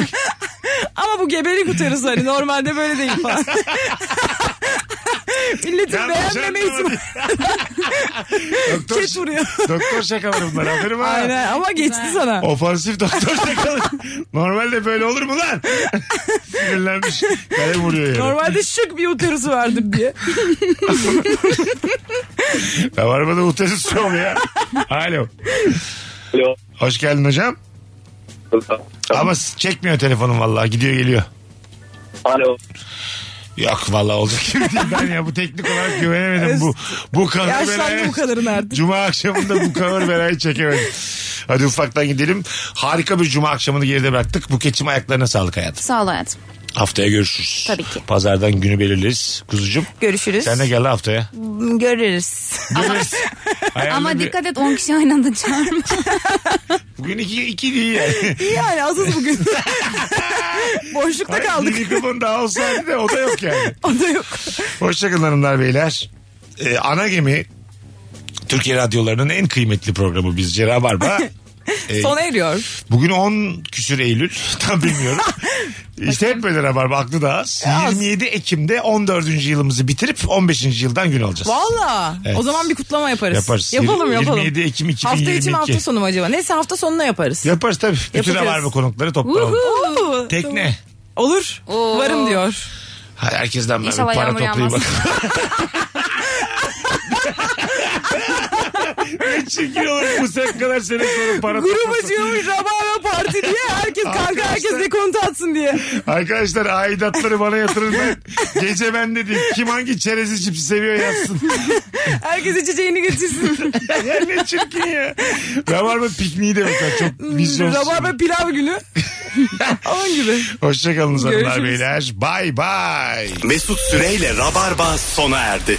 Speaker 3: Ama bu gebelik uterusu hani normalde böyle değil falan. Milletin
Speaker 2: Yanlış
Speaker 3: beğenmeme
Speaker 2: anlama
Speaker 3: ihtimali.
Speaker 2: Doktor,
Speaker 3: Ket vuruyor.
Speaker 2: doktor şakaları bunlar. Aferin ha.
Speaker 3: Aynen ama geçti sana.
Speaker 2: Ofansif doktor şakaları. Normalde böyle olur mu lan? Sinirlenmiş. Kaya vuruyor yani.
Speaker 3: Normalde şık bir uterusu vardır diye.
Speaker 2: Rabarba'da uterusu yok ya. Alo. Alo. Hoş geldin hocam. Ama çekmiyor telefonum vallahi gidiyor geliyor.
Speaker 8: Alo.
Speaker 2: Yok vallahi olacak gibi değil ben ya bu teknik olarak güvenemedim bu bu kadar
Speaker 3: Yaşlandı bu kadarın artık.
Speaker 2: Cuma akşamında bu cover belayı çekemedim. Hadi ufaktan gidelim. Harika bir cuma akşamını geride bıraktık. Buket'cim ayaklarına sağlık hayatım.
Speaker 4: Sağ ol hayatım.
Speaker 2: Haftaya görüşürüz.
Speaker 4: Tabii ki.
Speaker 2: Pazardan günü belirleriz. Kuzucuğum
Speaker 3: Görüşürüz.
Speaker 2: sen de gel haftaya.
Speaker 3: Görürüz.
Speaker 2: Görüşürüz. Hayalde
Speaker 4: Ama
Speaker 2: bir-
Speaker 4: dikkat et 10 kişi aynı anda çağırma.
Speaker 2: Bugün iki, iki değil yani.
Speaker 3: İyi yani azız bugün. Boşlukta
Speaker 2: Hayır,
Speaker 3: kaldık.
Speaker 2: Bir mikrofon daha olsaydı da o da yok yani.
Speaker 3: O da yok.
Speaker 2: Hoşçakalın hanımlar beyler. Ee, ana gemi Türkiye radyolarının en kıymetli programı bizce Rabarba. Ee,
Speaker 3: Sona eriyor.
Speaker 2: Bugün 10 küsür Eylül tam bilmiyorum. işte hep böyle Rabarba aklı da az. 27 Ekim'de 14. yılımızı bitirip 15. yıldan gün alacağız.
Speaker 3: Valla.
Speaker 2: Evet.
Speaker 3: O zaman bir kutlama yaparız.
Speaker 2: Yaparız.
Speaker 3: Yapalım yapalım.
Speaker 2: 27 Ekim 2022.
Speaker 3: Hafta içi mi hafta sonu mu acaba? Neyse hafta sonuna yaparız.
Speaker 2: Yaparız tabii. Bütün
Speaker 3: Yapacağız.
Speaker 2: Rabarba konukları toplanalım.
Speaker 3: Uhu.
Speaker 2: Tekne.
Speaker 3: Olur.
Speaker 4: Oo.
Speaker 3: Varım diyor.
Speaker 2: Hay- Herkesten ben bir
Speaker 4: İnşallah
Speaker 2: para
Speaker 4: yağmur
Speaker 2: toplayayım.
Speaker 4: yağmaz.
Speaker 2: ne çirkin olur bu sen kadar sene sonra para
Speaker 3: Grup
Speaker 2: toplasın.
Speaker 3: açıyormuş Rabarba Parti diye. Herkes kanka herkes
Speaker 2: Arkadaşlar.
Speaker 3: dekontu atsın diye.
Speaker 2: Arkadaşlar aidatları bana yatırın ben. Gece ben de değil. Kim hangi çerezi cipsi seviyor yazsın.
Speaker 3: Herkes içeceğini getirsin.
Speaker 2: ya ne çirkin ya. Rabarba pikniği demek var. Çok
Speaker 3: Hmm.
Speaker 2: vizyonsuz.
Speaker 3: Rabarba pilav günü. Onun gibi.
Speaker 2: Hoşçakalın hanımlar
Speaker 3: Görüşürüz.
Speaker 2: beyler. Bay bay.
Speaker 1: Mesut Süreyle Rabarba sona erdi.